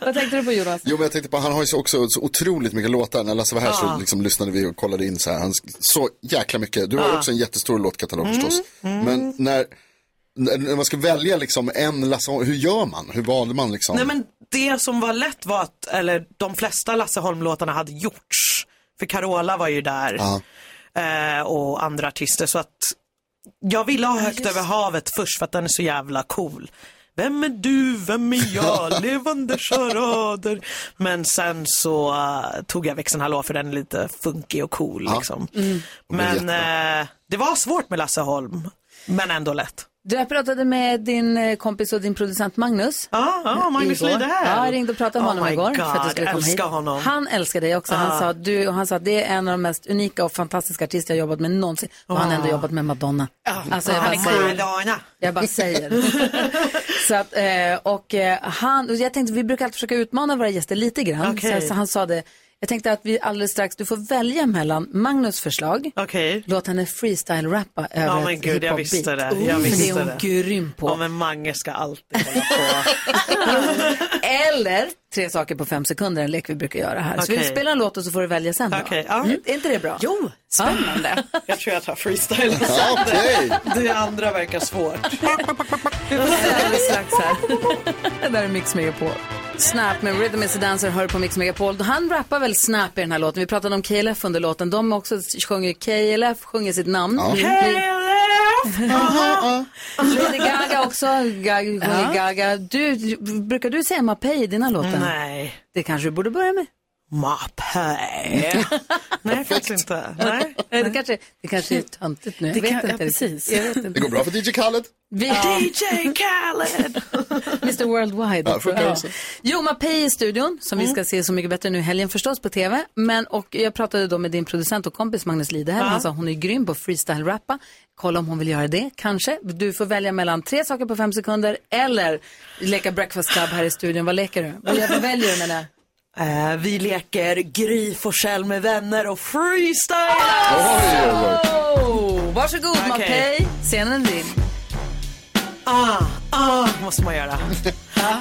Speaker 1: Vad tänkte du på Jonas?
Speaker 2: Jo men jag tänkte på, han har ju så också så otroligt mycket låtar. När Lasse var här
Speaker 18: Ja.
Speaker 2: så liksom lyssnade vi och kollade in så här. Han, sk- så jäkla mycket. Du har ju
Speaker 18: Ja.
Speaker 2: också en jättestor låtkatalog
Speaker 18: Mm,
Speaker 2: förstås.
Speaker 18: mm.
Speaker 2: Men när, när när man ska välja liksom en Lasse, hur gör man? Hur valde man liksom?
Speaker 18: Nej men det som var lätt var att, eller de flesta Lasse Holm-låtarna hade gjorts. För Carola var ju där eh, och andra artister så att jag ville ha Högt över havet först för att den är så jävla cool. Vem är du, vem är jag, levande charader. Men sen så eh, tog jag växeln hallå för den är lite funky och cool liksom. Men eh, det var svårt med Lasse Holm, men ändå lätt.
Speaker 1: Du, jag pratade med din eh, kompis och din producent Magnus.
Speaker 18: Ja, ja, Ah, Magnus
Speaker 1: igår.
Speaker 18: Lidell.
Speaker 1: Ja, jag ringde och pratade med
Speaker 18: Oh
Speaker 1: honom
Speaker 18: my
Speaker 1: igår.
Speaker 18: God,
Speaker 1: För att du skulle komma hit.
Speaker 18: älskar honom. Ah.
Speaker 1: Han älskar dig också. Han,
Speaker 18: Ja.
Speaker 1: sa, att du, och han sa att det är en av de mest unika och fantastiska artister jag jobbat med någonsin. Och han har ändå
Speaker 18: Ja.
Speaker 1: jobbat med Madonna. Alltså, jag
Speaker 18: han
Speaker 1: bara
Speaker 18: är
Speaker 1: säger-
Speaker 18: Madonna.
Speaker 1: Jag bara säger. så att, eh, och eh, han, och jag tänkte, vi brukar alltid försöka utmana våra gäster lite grann.
Speaker 18: Okej.
Speaker 1: Så, så han sa det, jag tänkte att vi alldeles strax, du får välja mellan Magnus förslag, låt henne freestyle-rappa över
Speaker 18: Ja men
Speaker 1: ett
Speaker 18: gud, jag
Speaker 1: hiphop-beat.
Speaker 18: visste det.
Speaker 1: Oh,
Speaker 18: Jag
Speaker 1: men
Speaker 18: visste
Speaker 1: det är hon
Speaker 18: det.
Speaker 1: grym på.
Speaker 18: Ja men Mange ska alltid
Speaker 1: Eller tre saker på fem sekunder, en lek vi brukar göra här. Så vi
Speaker 18: Okej.
Speaker 1: spelar en låt och så får du välja sen. då. Mm, är inte det bra?
Speaker 18: Jo, spännande. Oh. jag tror jag tar freestyle.
Speaker 1: Ja, Mm. okej.
Speaker 18: Det andra verkar svårt.
Speaker 1: Alldeles strax här. Det där är Mix Megapol. Snap med Rhythm is a Dancer hör på Mix Megapol. Han rappar väl Snap i den här låten. Vi pratade om KLF under låten. De också sjunger KLF, sjunger sitt namn.
Speaker 18: Ja.
Speaker 1: Aha. Lady Gaga också. Gaga, sjunger Gaga. Du, du- brukar du säga Mapei i dina låtar?
Speaker 18: Mm. Nej.
Speaker 1: Det kanske du borde börja med.
Speaker 18: Mapei. Nej, faktiskt inte. Nej.
Speaker 1: Det kanske, det kanske är töntigt nu. Jag
Speaker 18: Eh, Det
Speaker 1: vet
Speaker 18: kan-
Speaker 1: inte.
Speaker 18: ja,
Speaker 1: riktigt.
Speaker 18: precis.
Speaker 1: Jag vet inte.
Speaker 2: Det går bra för DJ Khaled.
Speaker 1: Vi,
Speaker 18: DJ Khaled!
Speaker 1: Mr Worldwide.
Speaker 2: Ja, funkar också.
Speaker 1: Jo, Mapei i studion, som
Speaker 18: Mm.
Speaker 1: vi ska se Så mycket bättre nu i helgen förstås på tv. Men, och jag pratade då med din producent och kompis Magnus Lidehäll.
Speaker 18: Ja.
Speaker 1: Han sa hon är grym på freestyle-rappa. Kolla om hon vill göra det, kanske. Du får välja mellan tre saker på fem sekunder eller leka breakfast club här i studion. Vad leker du? Vad gör- vad väljer du menar jag?
Speaker 18: Eh, vi leker Gry Forssell med vänner och freestyle.
Speaker 1: Oh, varsågod
Speaker 18: Okej.
Speaker 1: Mapei, scenen är din.
Speaker 18: Ah, ah, måste man göra.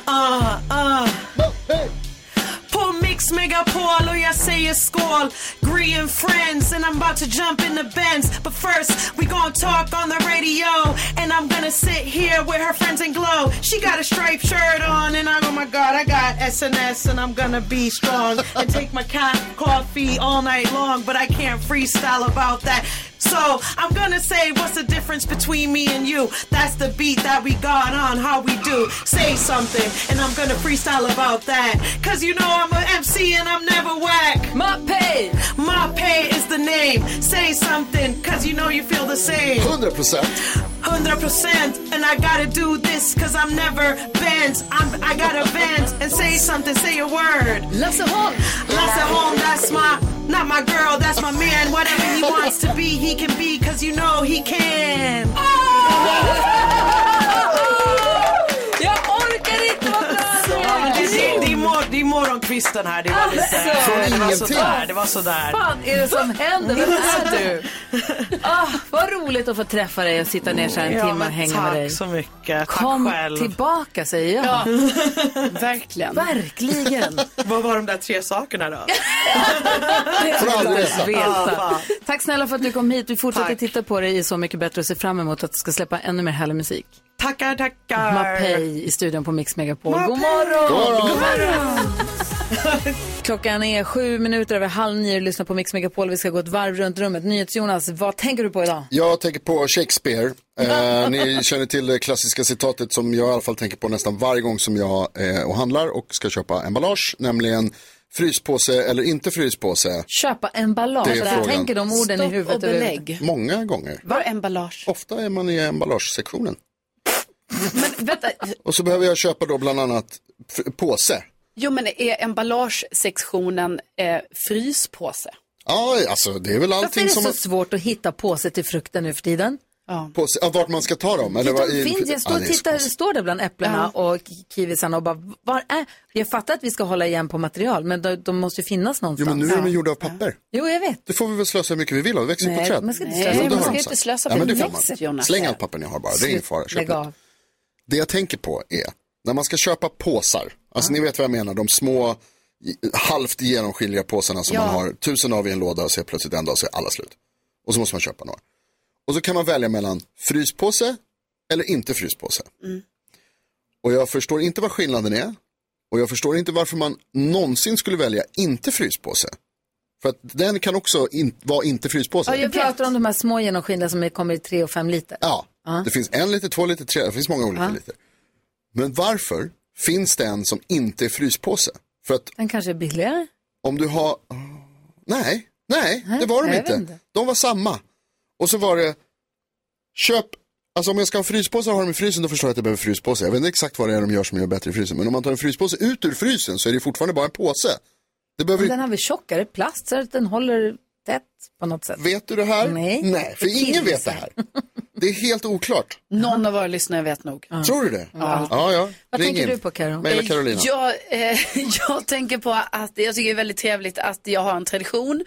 Speaker 18: ah, ah. På Mix Megapol och jag säger skål. Gree and friends and I'm about to jump in the Benz. But first we gonna talk on the radio. And I'm gonna sit here with her friends and glow. She got a striped shirt on and I'm, oh my god, I got SNS and I'm gonna be strong. And take my co- coffee all night long. But I can't freestyle about that. So I'm gonna say what's the difference between me and you? That's the beat that we got on how we do. Say something, and I'm gonna freestyle about that. Cause you know I'm an MC and I'm never whack.
Speaker 1: My pay,
Speaker 18: my pay is the name. Say something, cause you know you feel the same.
Speaker 2: 100%.
Speaker 18: 100% and I gotta do this cause I'm never bent. I'm, I gotta bend and say something, say a word.
Speaker 1: Lasse Holm.
Speaker 18: Lasse Holm, that's my, not my girl, that's my man. Whatever he wants to be, he can be cause you know he can.
Speaker 1: Jag orkar inte vara
Speaker 18: Det är morgonkvisten här. Det
Speaker 1: var lite- Alltså. det var sådär, det
Speaker 18: var sådär.
Speaker 1: fan är det som händer? Vem är du? Ah, vad roligt att få träffa dig och sitta ner så här en timme och hänga med dig.
Speaker 18: Tack så mycket.
Speaker 1: Kom
Speaker 18: tack själv.
Speaker 1: tillbaka säger jag.
Speaker 3: Ja.
Speaker 1: Verkligen. Verkligen.
Speaker 18: Vad var de där tre sakerna då?
Speaker 1: Det
Speaker 18: Får aldrig
Speaker 1: vill
Speaker 3: Alltså.
Speaker 18: veta.
Speaker 1: jag veta.
Speaker 18: Ja, fan.
Speaker 1: Tack snälla för att du kom hit. Vi fortsätter titta på dig i Så mycket bättre och ser fram emot att du ska släppa ännu mer härlig musik.
Speaker 18: Tackar, tackar.
Speaker 1: Mapei i studion på Mix Megapol. God
Speaker 18: Mapei.
Speaker 1: morgon!
Speaker 18: God morgon.
Speaker 1: Klockan är sju minuter över halv nio. Lyssna på Mix Megapol. Vi ska gå ett varv runt rummet. NyhetsJonas, vad tänker du på idag?
Speaker 2: Jag tänker på Shakespeare. Eh, ni känner till det klassiska citatet som jag i alla fall tänker på nästan varje gång som jag eh, och handlar och ska köpa emballage, nämligen fryspåse eller inte fryspåse.
Speaker 1: Köpa emballage.
Speaker 2: Det är
Speaker 1: Där
Speaker 2: frågan.
Speaker 1: tänker de orden i
Speaker 3: Stopp
Speaker 1: huvudet.
Speaker 3: och belägg.
Speaker 2: Många gånger.
Speaker 3: Var emballage?
Speaker 2: Ofta är man i emballagesektionen.
Speaker 3: Men vänta,
Speaker 2: Och så behöver jag köpa då bland annat fr- påse.
Speaker 3: jo men är emballagesektionen eh, fryspåse?
Speaker 2: Ja, alltså det är väl
Speaker 1: Varför är
Speaker 2: allting
Speaker 1: det
Speaker 2: som...
Speaker 1: så svårt att hitta påse till frukten nu för tiden?
Speaker 2: På, ja, vart man ska ta dem? Eller vad- i-
Speaker 1: Finns, jag står,
Speaker 2: Ja,
Speaker 1: och
Speaker 2: det är så
Speaker 1: tittar,
Speaker 2: konstigt.
Speaker 1: står där bland äpplena och ki- kiwisarna och bara, var är, jag fattar att vi ska hålla igen på material, men de, de måste ju finnas
Speaker 2: Jo,
Speaker 1: någonstans.
Speaker 2: men nu är de
Speaker 1: Ja.
Speaker 2: gjorda av papper.
Speaker 1: Jo, jag vet.
Speaker 2: Det får vi väl slösa hur mycket vi vill av, det växer ju på
Speaker 1: Nej,
Speaker 2: träd.
Speaker 1: man ska inte
Speaker 2: Jo,
Speaker 1: slösa
Speaker 2: det
Speaker 1: på-
Speaker 2: har
Speaker 1: man ska
Speaker 2: de
Speaker 1: inte
Speaker 2: sagt.
Speaker 1: slösa
Speaker 2: ja,
Speaker 1: på
Speaker 2: men det får
Speaker 1: växet,
Speaker 2: man.
Speaker 1: Jonas.
Speaker 2: Släng allt papper ni har bara, det är ingen fara. Köp
Speaker 1: Lägg
Speaker 2: nytt.
Speaker 1: av.
Speaker 2: Det jag tänker på är, när man ska köpa påsar, alltså ni vet vad jag menar, de små i- halvt genomskinliga påsarna som
Speaker 20: Ja.
Speaker 2: man har tusen av i en låda och så plötsligt en dag så är alla slut. Och så måste man köpa några. Och så kan man välja mellan fryspåse eller inte fryspåse.
Speaker 1: Mm.
Speaker 2: Och jag förstår inte vad skillnaden är. Och jag förstår inte varför man någonsin skulle välja inte fryspåse. För att den kan också in, vara inte fryspåse.
Speaker 1: Ja, jag pratar om de här små genomskinliga som är- kommer i tre och fem liter.
Speaker 2: Ja,
Speaker 1: Ja.
Speaker 2: det finns en liter, två liter, tre, det finns många olika
Speaker 1: Ja.
Speaker 2: liter. Men varför finns det en som inte är fryspåse? För att
Speaker 1: Den kanske är billigare.
Speaker 2: om du har... Nej, nej, det var de
Speaker 1: jag
Speaker 2: inte.
Speaker 1: vet inte.
Speaker 2: De var samma. Och så var det, köp, alltså om jag ska ha en fryspåse och har dem i frysen då förstår jag att jag behöver fryspåse. Jag vet inte exakt vad det är de gör som gör bättre i frysen. Men om man tar en fryspåse ut ur frysen så är det fortfarande bara en påse. Det behöver
Speaker 1: Men
Speaker 2: ju-
Speaker 1: den har väl tjockare plast så att den håller tätt på något sätt.
Speaker 2: Vet du det här?
Speaker 1: Nej.
Speaker 2: Nej, för ingen vet det här. Det är helt oklart.
Speaker 3: Någon av våra lyssnare vet nog.
Speaker 2: Tror du det?
Speaker 3: Ja.
Speaker 2: ja. ja.
Speaker 3: Vad
Speaker 2: Ring
Speaker 3: tänker
Speaker 2: in.
Speaker 3: du på, Karo?
Speaker 2: Mejla Carolina.
Speaker 3: Jag, eh, jag tänker på att jag tycker det är väldigt trevligt att jag har en tradition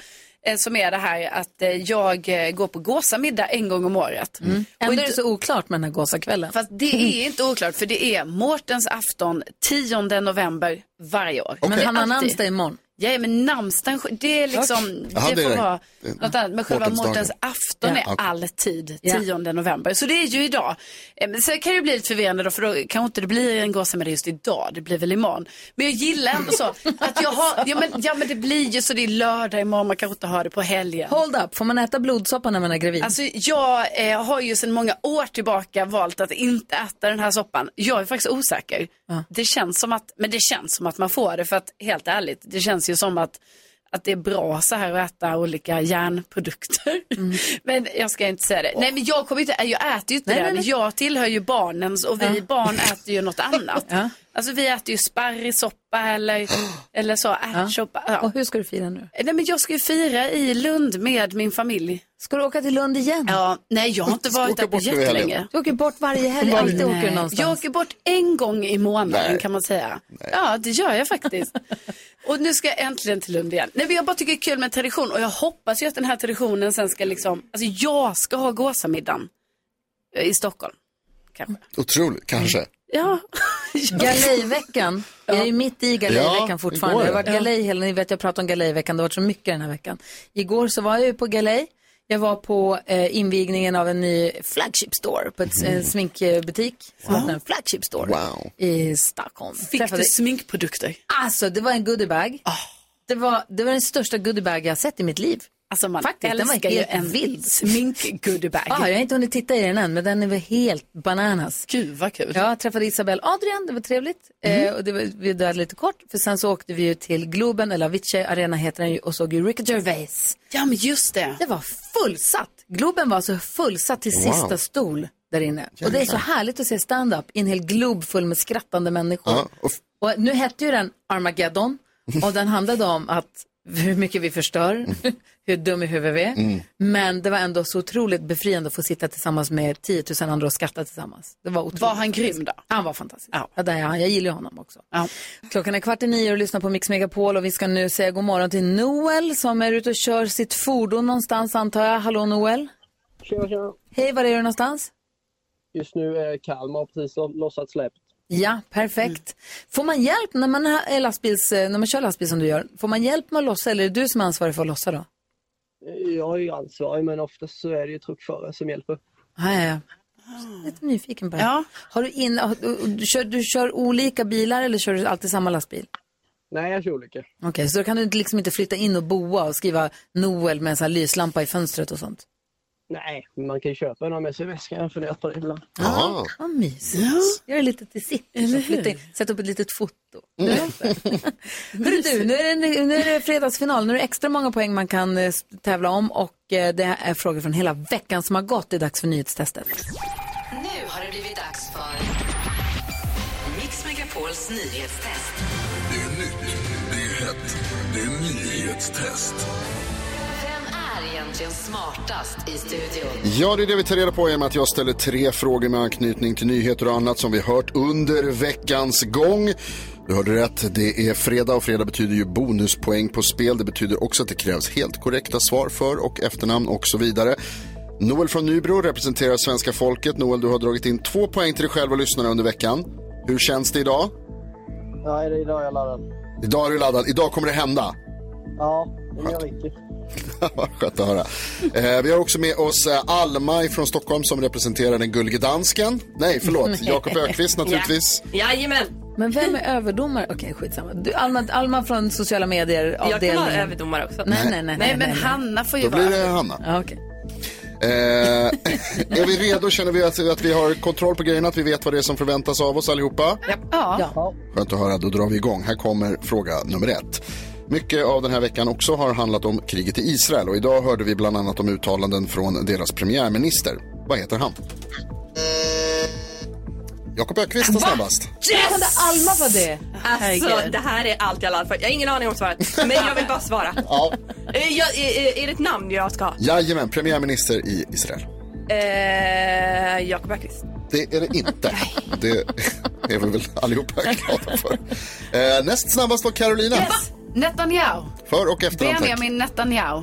Speaker 3: eh, som är det här att eh, jag eh, går på gåsamiddag en gång om året.
Speaker 1: Mm. Ändå är det så oklart med den här gåsakvällen.
Speaker 3: Fast det är inte oklart för det är Mårtens afton 10 november varje år.
Speaker 1: Men han har
Speaker 3: Alltid.
Speaker 1: namnsdag imorgon.
Speaker 3: Ja, men namnsdagen, det är liksom,
Speaker 1: Tack.
Speaker 2: Jaha,
Speaker 3: det
Speaker 2: det är
Speaker 3: får
Speaker 2: det.
Speaker 3: vara
Speaker 2: Det är
Speaker 3: något annat. Men själva
Speaker 2: Mårtensdagen.
Speaker 3: Mårtens afton
Speaker 2: Ja.
Speaker 3: är
Speaker 2: Okej.
Speaker 3: alltid
Speaker 1: Ja.
Speaker 3: 10 november. Så det är ju idag. Eh, Men sen kan det ju bli lite förvirrande då, för då kanske inte det blir en gåsemiddag just idag, det blir väl imorgon. Men jag gillar ändå så att jag har, ja men, ja men det blir ju så det är lördag imorgon, man kanske inte har det på helgen.
Speaker 1: Hold up, får man äta blodsoppa när man är gravid?
Speaker 3: Alltså jag eh, har ju sedan många år tillbaka valt att inte äta den här soppan. Jag är faktiskt osäker. Det känns som att, men det känns som att man får det för att helt ärligt, det känns ju som att, att det är bra så här att äta olika järnprodukter.
Speaker 1: Mm.
Speaker 3: men jag ska inte säga det. Nej men jag kommer inte, jag äter ju inte
Speaker 1: Nej,
Speaker 3: den.
Speaker 1: nej, nej.
Speaker 3: Jag tillhör ju barnens och vi barn äter ju något annat. Alltså vi äter ju sparrissoppa eller, eller så ärtsoppa. Ja.
Speaker 1: Och hur ska du fira nu?
Speaker 3: Nej, men jag ska ju fira i Lund med min familj.
Speaker 1: Ska du åka till Lund igen?
Speaker 3: Ja, nej jag har inte
Speaker 1: Ska
Speaker 3: varit
Speaker 1: åka
Speaker 3: där på
Speaker 1: bort nu i helgen?
Speaker 3: jättelänge.
Speaker 1: Du åker bort varje helg, alltid
Speaker 3: Nej.
Speaker 1: åker du någonstans.
Speaker 3: Jag åker bort en gång i månaden
Speaker 1: Nej.
Speaker 3: kan man säga. Ja, det gör jag faktiskt. och nu ska jag äntligen till Lund igen. Nej, men jag bara tycker det är kul med tradition och jag hoppas ju att den här traditionen sen ska liksom, alltså jag ska ha gåsamiddagen eh, i Stockholm. Kanske.
Speaker 2: Otroligt, kanske.
Speaker 3: Ja.
Speaker 1: Galejveckan. Jag är ju mitt i galejveckan
Speaker 2: Ja,
Speaker 1: fortfarande.
Speaker 2: igår,
Speaker 1: Jag har
Speaker 2: ja.
Speaker 1: varit galej hela, ni vet jag pratar om galejveckan, det har varit så mycket den här veckan. Igår så var jag ju på galej. Jag var på eh, invigningen av en ny flagship store på ett, en sminkbutik. Som heter en flagship store
Speaker 3: Wow.
Speaker 1: i Stockholm.
Speaker 3: Fick
Speaker 1: Träffade-
Speaker 3: du sminkprodukter?
Speaker 1: Alltså det var en goodiebag. Det, var, det var den största goodiebag jag har sett i mitt liv.
Speaker 3: Alltså man
Speaker 1: Faktiskt, den var
Speaker 3: älskar ju
Speaker 1: helt
Speaker 3: en
Speaker 1: vild. Ah,
Speaker 3: smink-goodiebag.
Speaker 1: Ja, jag har inte hunnit titta i den än, men den är väl helt bananas.
Speaker 3: Gud, vad kul.
Speaker 1: Ja, jag träffade Isabel Adrian, det var trevligt. Eh, och det var, vi var där lite kort, för sen så åkte vi ju till Globen, eller Avicii Arena heter den ju, och såg ju Ricky Gervais.
Speaker 3: Ja, men just det.
Speaker 1: Det var fullsatt. Globen var alltså fullsatt till
Speaker 3: Wow.
Speaker 1: sista stol där inne. Och det är så
Speaker 3: Jävlar.
Speaker 1: härligt att se stand-up i en hel glob full med skrattande människor.
Speaker 2: Ja, och f-
Speaker 1: Och nu hette ju den Armageddon och den handlade om att hur mycket vi förstör, hur dum i huvudet vi är.
Speaker 2: Mm.
Speaker 1: Men det var ändå så otroligt befriande att få sitta tillsammans med 10 000 andra och skratta tillsammans. Det var otroligt. Var
Speaker 3: han grym då?
Speaker 1: Han var fantastisk. Ja. där är han. Jag gillar ju honom också. Klockan är kvart i nio och lyssnar på Mix Megapol och vi ska nu säga god morgon till Noel som är ute och kör sitt fordon någonstans antar jag. Hallå Noel.
Speaker 21: Tjena, tjena.
Speaker 1: Hej, var är du någonstans?
Speaker 21: Just nu är Kalmar precis lo- lossat släppt.
Speaker 1: Ja, perfekt. Får man hjälp när man, är lastbils, eh, när man kör lastbil som du gör? Får man hjälp med att lossa eller är det du som är ansvarig för att lossa då?
Speaker 21: Jag är ju ansvarig men oftast så är det ju truckförare som hjälper.
Speaker 1: Ja, ja, ja. Lite nyfiken bara. Har du, in, har, du, du, kör, du kör olika bilar eller kör du alltid samma lastbil?
Speaker 21: Nej, jag kör olika.
Speaker 1: Okej, så då kan du inte- liksom inte flytta in och boa och skriva Noel med en sån här lyslampa i fönstret och sånt?
Speaker 21: Nej, men man kan ju köpa en och ha med sig i väskan. Jag har funderat på det ibland.
Speaker 1: Vad mysigt. Gör det lite till sitt.
Speaker 21: Eller
Speaker 1: Liksom. Flytta in, sätt upp ett litet foto. Hörru du, nu är, det, nu är det fredagsfinal. Nu är det extra många poäng man kan eh, tävla om och eh, det är frågor från hela veckan som har gått. Det är dags för nyhetstestet.
Speaker 7: Nu har det blivit dags för Mix Megapols nyhetstest.
Speaker 22: Det är nytt, det är hett, det är nyhetstest.
Speaker 7: Vem är egentligen egentligen smartast i studion?
Speaker 2: Ja, det är det vi tar reda på genom att jag ställer tre frågor med anknytning till nyheter och annat som vi hört under veckans gång. Du hörde rätt, det är fredag och fredag betyder ju bonuspoäng på spel. Det betyder också att det krävs helt korrekta svar för och efternamn och så vidare. Noel från Nybro representerar svenska folket. Noel, du har dragit in två poäng till dig själv och lyssnarna under veckan. Hur känns det idag?
Speaker 21: Ja, är det idag jag laddar?
Speaker 2: Idag är du laddad. Idag kommer det hända.
Speaker 21: Ja, det gör riktigt.
Speaker 2: Vad Skönt att höra. Eh, vi har också med oss eh, Alma från Stockholm som representerar den gullige dansken. Nej, förlåt. Jakob Ökvist naturligtvis.
Speaker 1: Ja. Jajamän. Men vem är överdomare? Okej, skitsamma. Du, Alma, Alma från sociala medier
Speaker 20: Jag kan vara
Speaker 1: avdelningen.
Speaker 20: överdomare också.
Speaker 1: Nej, nej, nej, nej,
Speaker 20: nej men
Speaker 1: nej.
Speaker 20: Hanna får ju
Speaker 2: Då
Speaker 20: vara.
Speaker 2: blir det Hanna.
Speaker 1: Ja, okej.
Speaker 2: Eh, är vi redo? Känner vi att, att vi har kontroll på grejerna? Att vi vet vad det är som förväntas av oss allihopa?
Speaker 1: Ja.
Speaker 2: Skönt att höra, då drar vi igång. Här kommer fråga nummer ett. Mycket av den här veckan också har handlat om kriget i Israel och idag hörde vi bland annat om uttalanden från deras premiärminister. Vad heter han? Jakob Ökvist är snabbast.
Speaker 1: Yes! Kan det Alma vara det?
Speaker 20: Herregud.
Speaker 1: Herregud.
Speaker 20: det här är allt jag laddar för. Jag har ingen aning om svaret, men jag vill bara svara.
Speaker 2: Ja.
Speaker 20: Eh, jag, eh, är det ett namn jag ska ha?
Speaker 2: Jajamän, premiärminister i Israel.
Speaker 20: Eh, Jakob Bergqvist.
Speaker 2: Det är det inte. Det är vi väl allihopa glada för. Eh, näst snabbast var Carolina.
Speaker 3: Netanyahu.
Speaker 2: För och efternamn tack.
Speaker 3: Benjamin Netanyahu.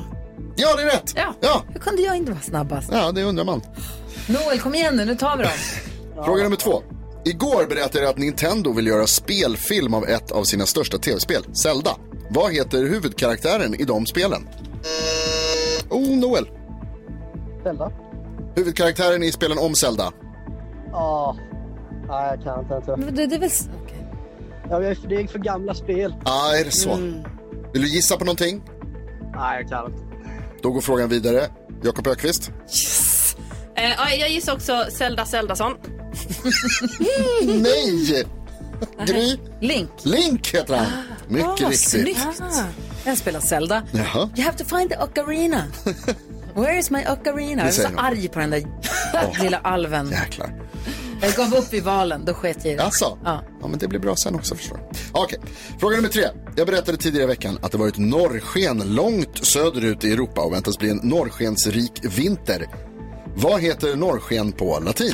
Speaker 2: Ja, det är rätt.
Speaker 3: Ja.
Speaker 1: Hur kunde jag inte vara snabbast?
Speaker 2: Ja, det undrar man.
Speaker 1: Noel, kom igen nu, nu tar vi dem.
Speaker 2: Fråga nummer två. Igår berättade jag att Nintendo vill göra spelfilm av ett av sina största tv-spel, Zelda. Vad heter huvudkaraktären i de spelen? Oh, Noel.
Speaker 21: Zelda?
Speaker 2: Huvudkaraktären i spelen om Zelda.
Speaker 21: Ja. Nej, jag kan inte. inte.
Speaker 1: Men det, det är väl...
Speaker 21: Ja, vi är- det är för gamla spel.
Speaker 2: Ah, är det så?
Speaker 21: Mm.
Speaker 2: Vill du gissa på någonting?
Speaker 21: Nej, jag kan inte.
Speaker 2: Då går frågan vidare. Jakob Ökvist.
Speaker 20: Eh, ja, jag gissar också Zelda Zeldason.
Speaker 2: Nej! Gry.
Speaker 1: Link.
Speaker 2: Link heter han. Mycket
Speaker 1: Ah,
Speaker 2: riktigt.
Speaker 1: snyggt. Jag spelar Zelda.
Speaker 2: Jaha.
Speaker 1: You have to find the ocarina. Where is my ocarina? Jag
Speaker 2: Det
Speaker 1: var
Speaker 2: säger
Speaker 1: så
Speaker 2: man.
Speaker 1: arg på den där lilla alven.
Speaker 2: Jäklar.
Speaker 1: Jag gav upp i valen, då sket jag i det.
Speaker 2: Alltså?
Speaker 1: Ja.
Speaker 2: Ja, men det blir bra sen också förstår jag. Okej, fråga nummer tre. Jag berättade tidigare i veckan att det varit norrsken långt söderut i Europa och väntas bli en norrskensrik vinter. Vad heter norrsken på latin?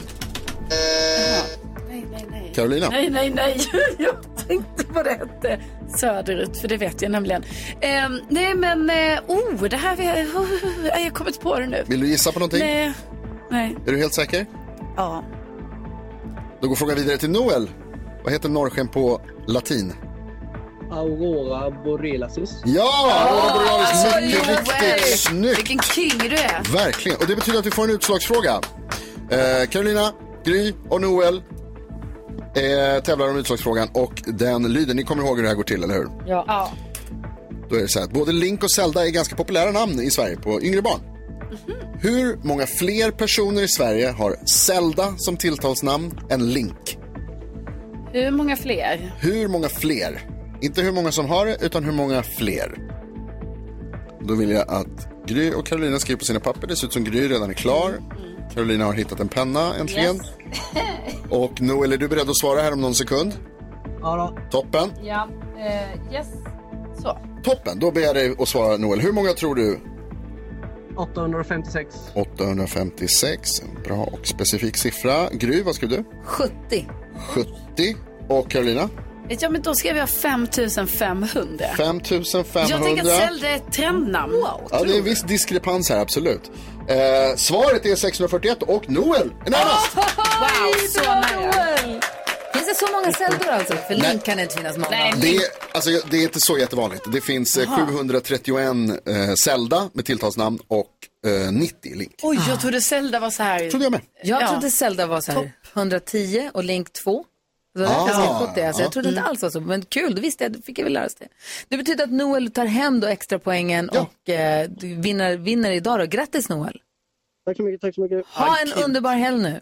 Speaker 3: Nej, nej, nej.
Speaker 2: Carolina?
Speaker 3: Nej, nej, nej. Jag tänkte på det hette söderut, för det vet jag nämligen. Eh, nej, men... Eh, oh, det här... vet- Oh, jag har kommit på det nu.
Speaker 2: Vill du gissa på någonting?
Speaker 3: Nej. Nej.
Speaker 2: Är du helt säker?
Speaker 3: Ja.
Speaker 2: Då går frågan vidare till Noel. Vad heter norrsken på latin?
Speaker 21: Aurora borealis.
Speaker 2: Ja! Aurora borealis,
Speaker 3: alltså,
Speaker 2: mycket
Speaker 3: Joel.
Speaker 2: riktigt snyggt!
Speaker 3: Vilken king du är.
Speaker 2: Verkligen, och det betyder att vi får en utslagsfråga. Eh, Carolina, Gry och Noel eh, tävlar om utslagsfrågan och den lyder, ni kommer ihåg hur det här går till, eller hur?
Speaker 1: Ja.
Speaker 2: Då är det så här att både Link och Zelda är ganska populära namn i Sverige på yngre barn. Hur många fler personer i Sverige har Zelda som tilltalsnamn än Link?
Speaker 3: Hur många fler?
Speaker 2: Hur många fler? Inte hur många som har det, utan hur många fler? Då vill jag att Gry och Carolina skriver på sina papper. Det ser ut som Gry redan är klar. Carolina har hittat en penna äntligen. Och Noel, är du beredd att svara här om någon sekund?
Speaker 21: Ja
Speaker 2: Toppen.
Speaker 3: Ja.
Speaker 20: eh,
Speaker 3: yes. Så.
Speaker 2: Toppen, då ber jag dig att svara Noel. Hur många tror du?
Speaker 21: då. 856.
Speaker 2: 856, en bra och specifik siffra. Gry, vad skrev du?
Speaker 3: 70.
Speaker 2: 70. Och Carolina?
Speaker 3: Ja, men då skrev jag 5500.
Speaker 2: 5500.
Speaker 3: Jag tänker att Zelda är ett trendnamn.
Speaker 2: Ja, det är en viss diskrepans här, absolut. Eh, svaret är 641 och Noel är närmast.
Speaker 3: Ah!
Speaker 1: Wow, så nära. Finns det så många Zeldor alltså? För
Speaker 2: Nej.
Speaker 1: Link kan det inte finnas många.
Speaker 2: Det är, alltså, det är inte så jättevanligt. Det finns eh,
Speaker 3: Jaha.
Speaker 2: 731 eh, Zelda med tilltalsnamn och eh, 90 Link.
Speaker 3: Oj, jag trodde Zelda var så här.
Speaker 2: Trodde jag med.
Speaker 1: Jag
Speaker 3: Ja.
Speaker 1: trodde Zelda var så här 110 och Link 2. Det var
Speaker 2: Ah, Mm.
Speaker 1: därför jag skrev 70. Alltså,
Speaker 2: ja.
Speaker 1: jag trodde inte alls var så, men kul, då visste jag, då fick jag väl lära sig det. Det betyder att Noel tar hem då extra poängen och eh, du vinner, vinner idag då. Grattis Noel!
Speaker 21: Tack så mycket, tack så mycket.
Speaker 1: Ha en underbar helg nu!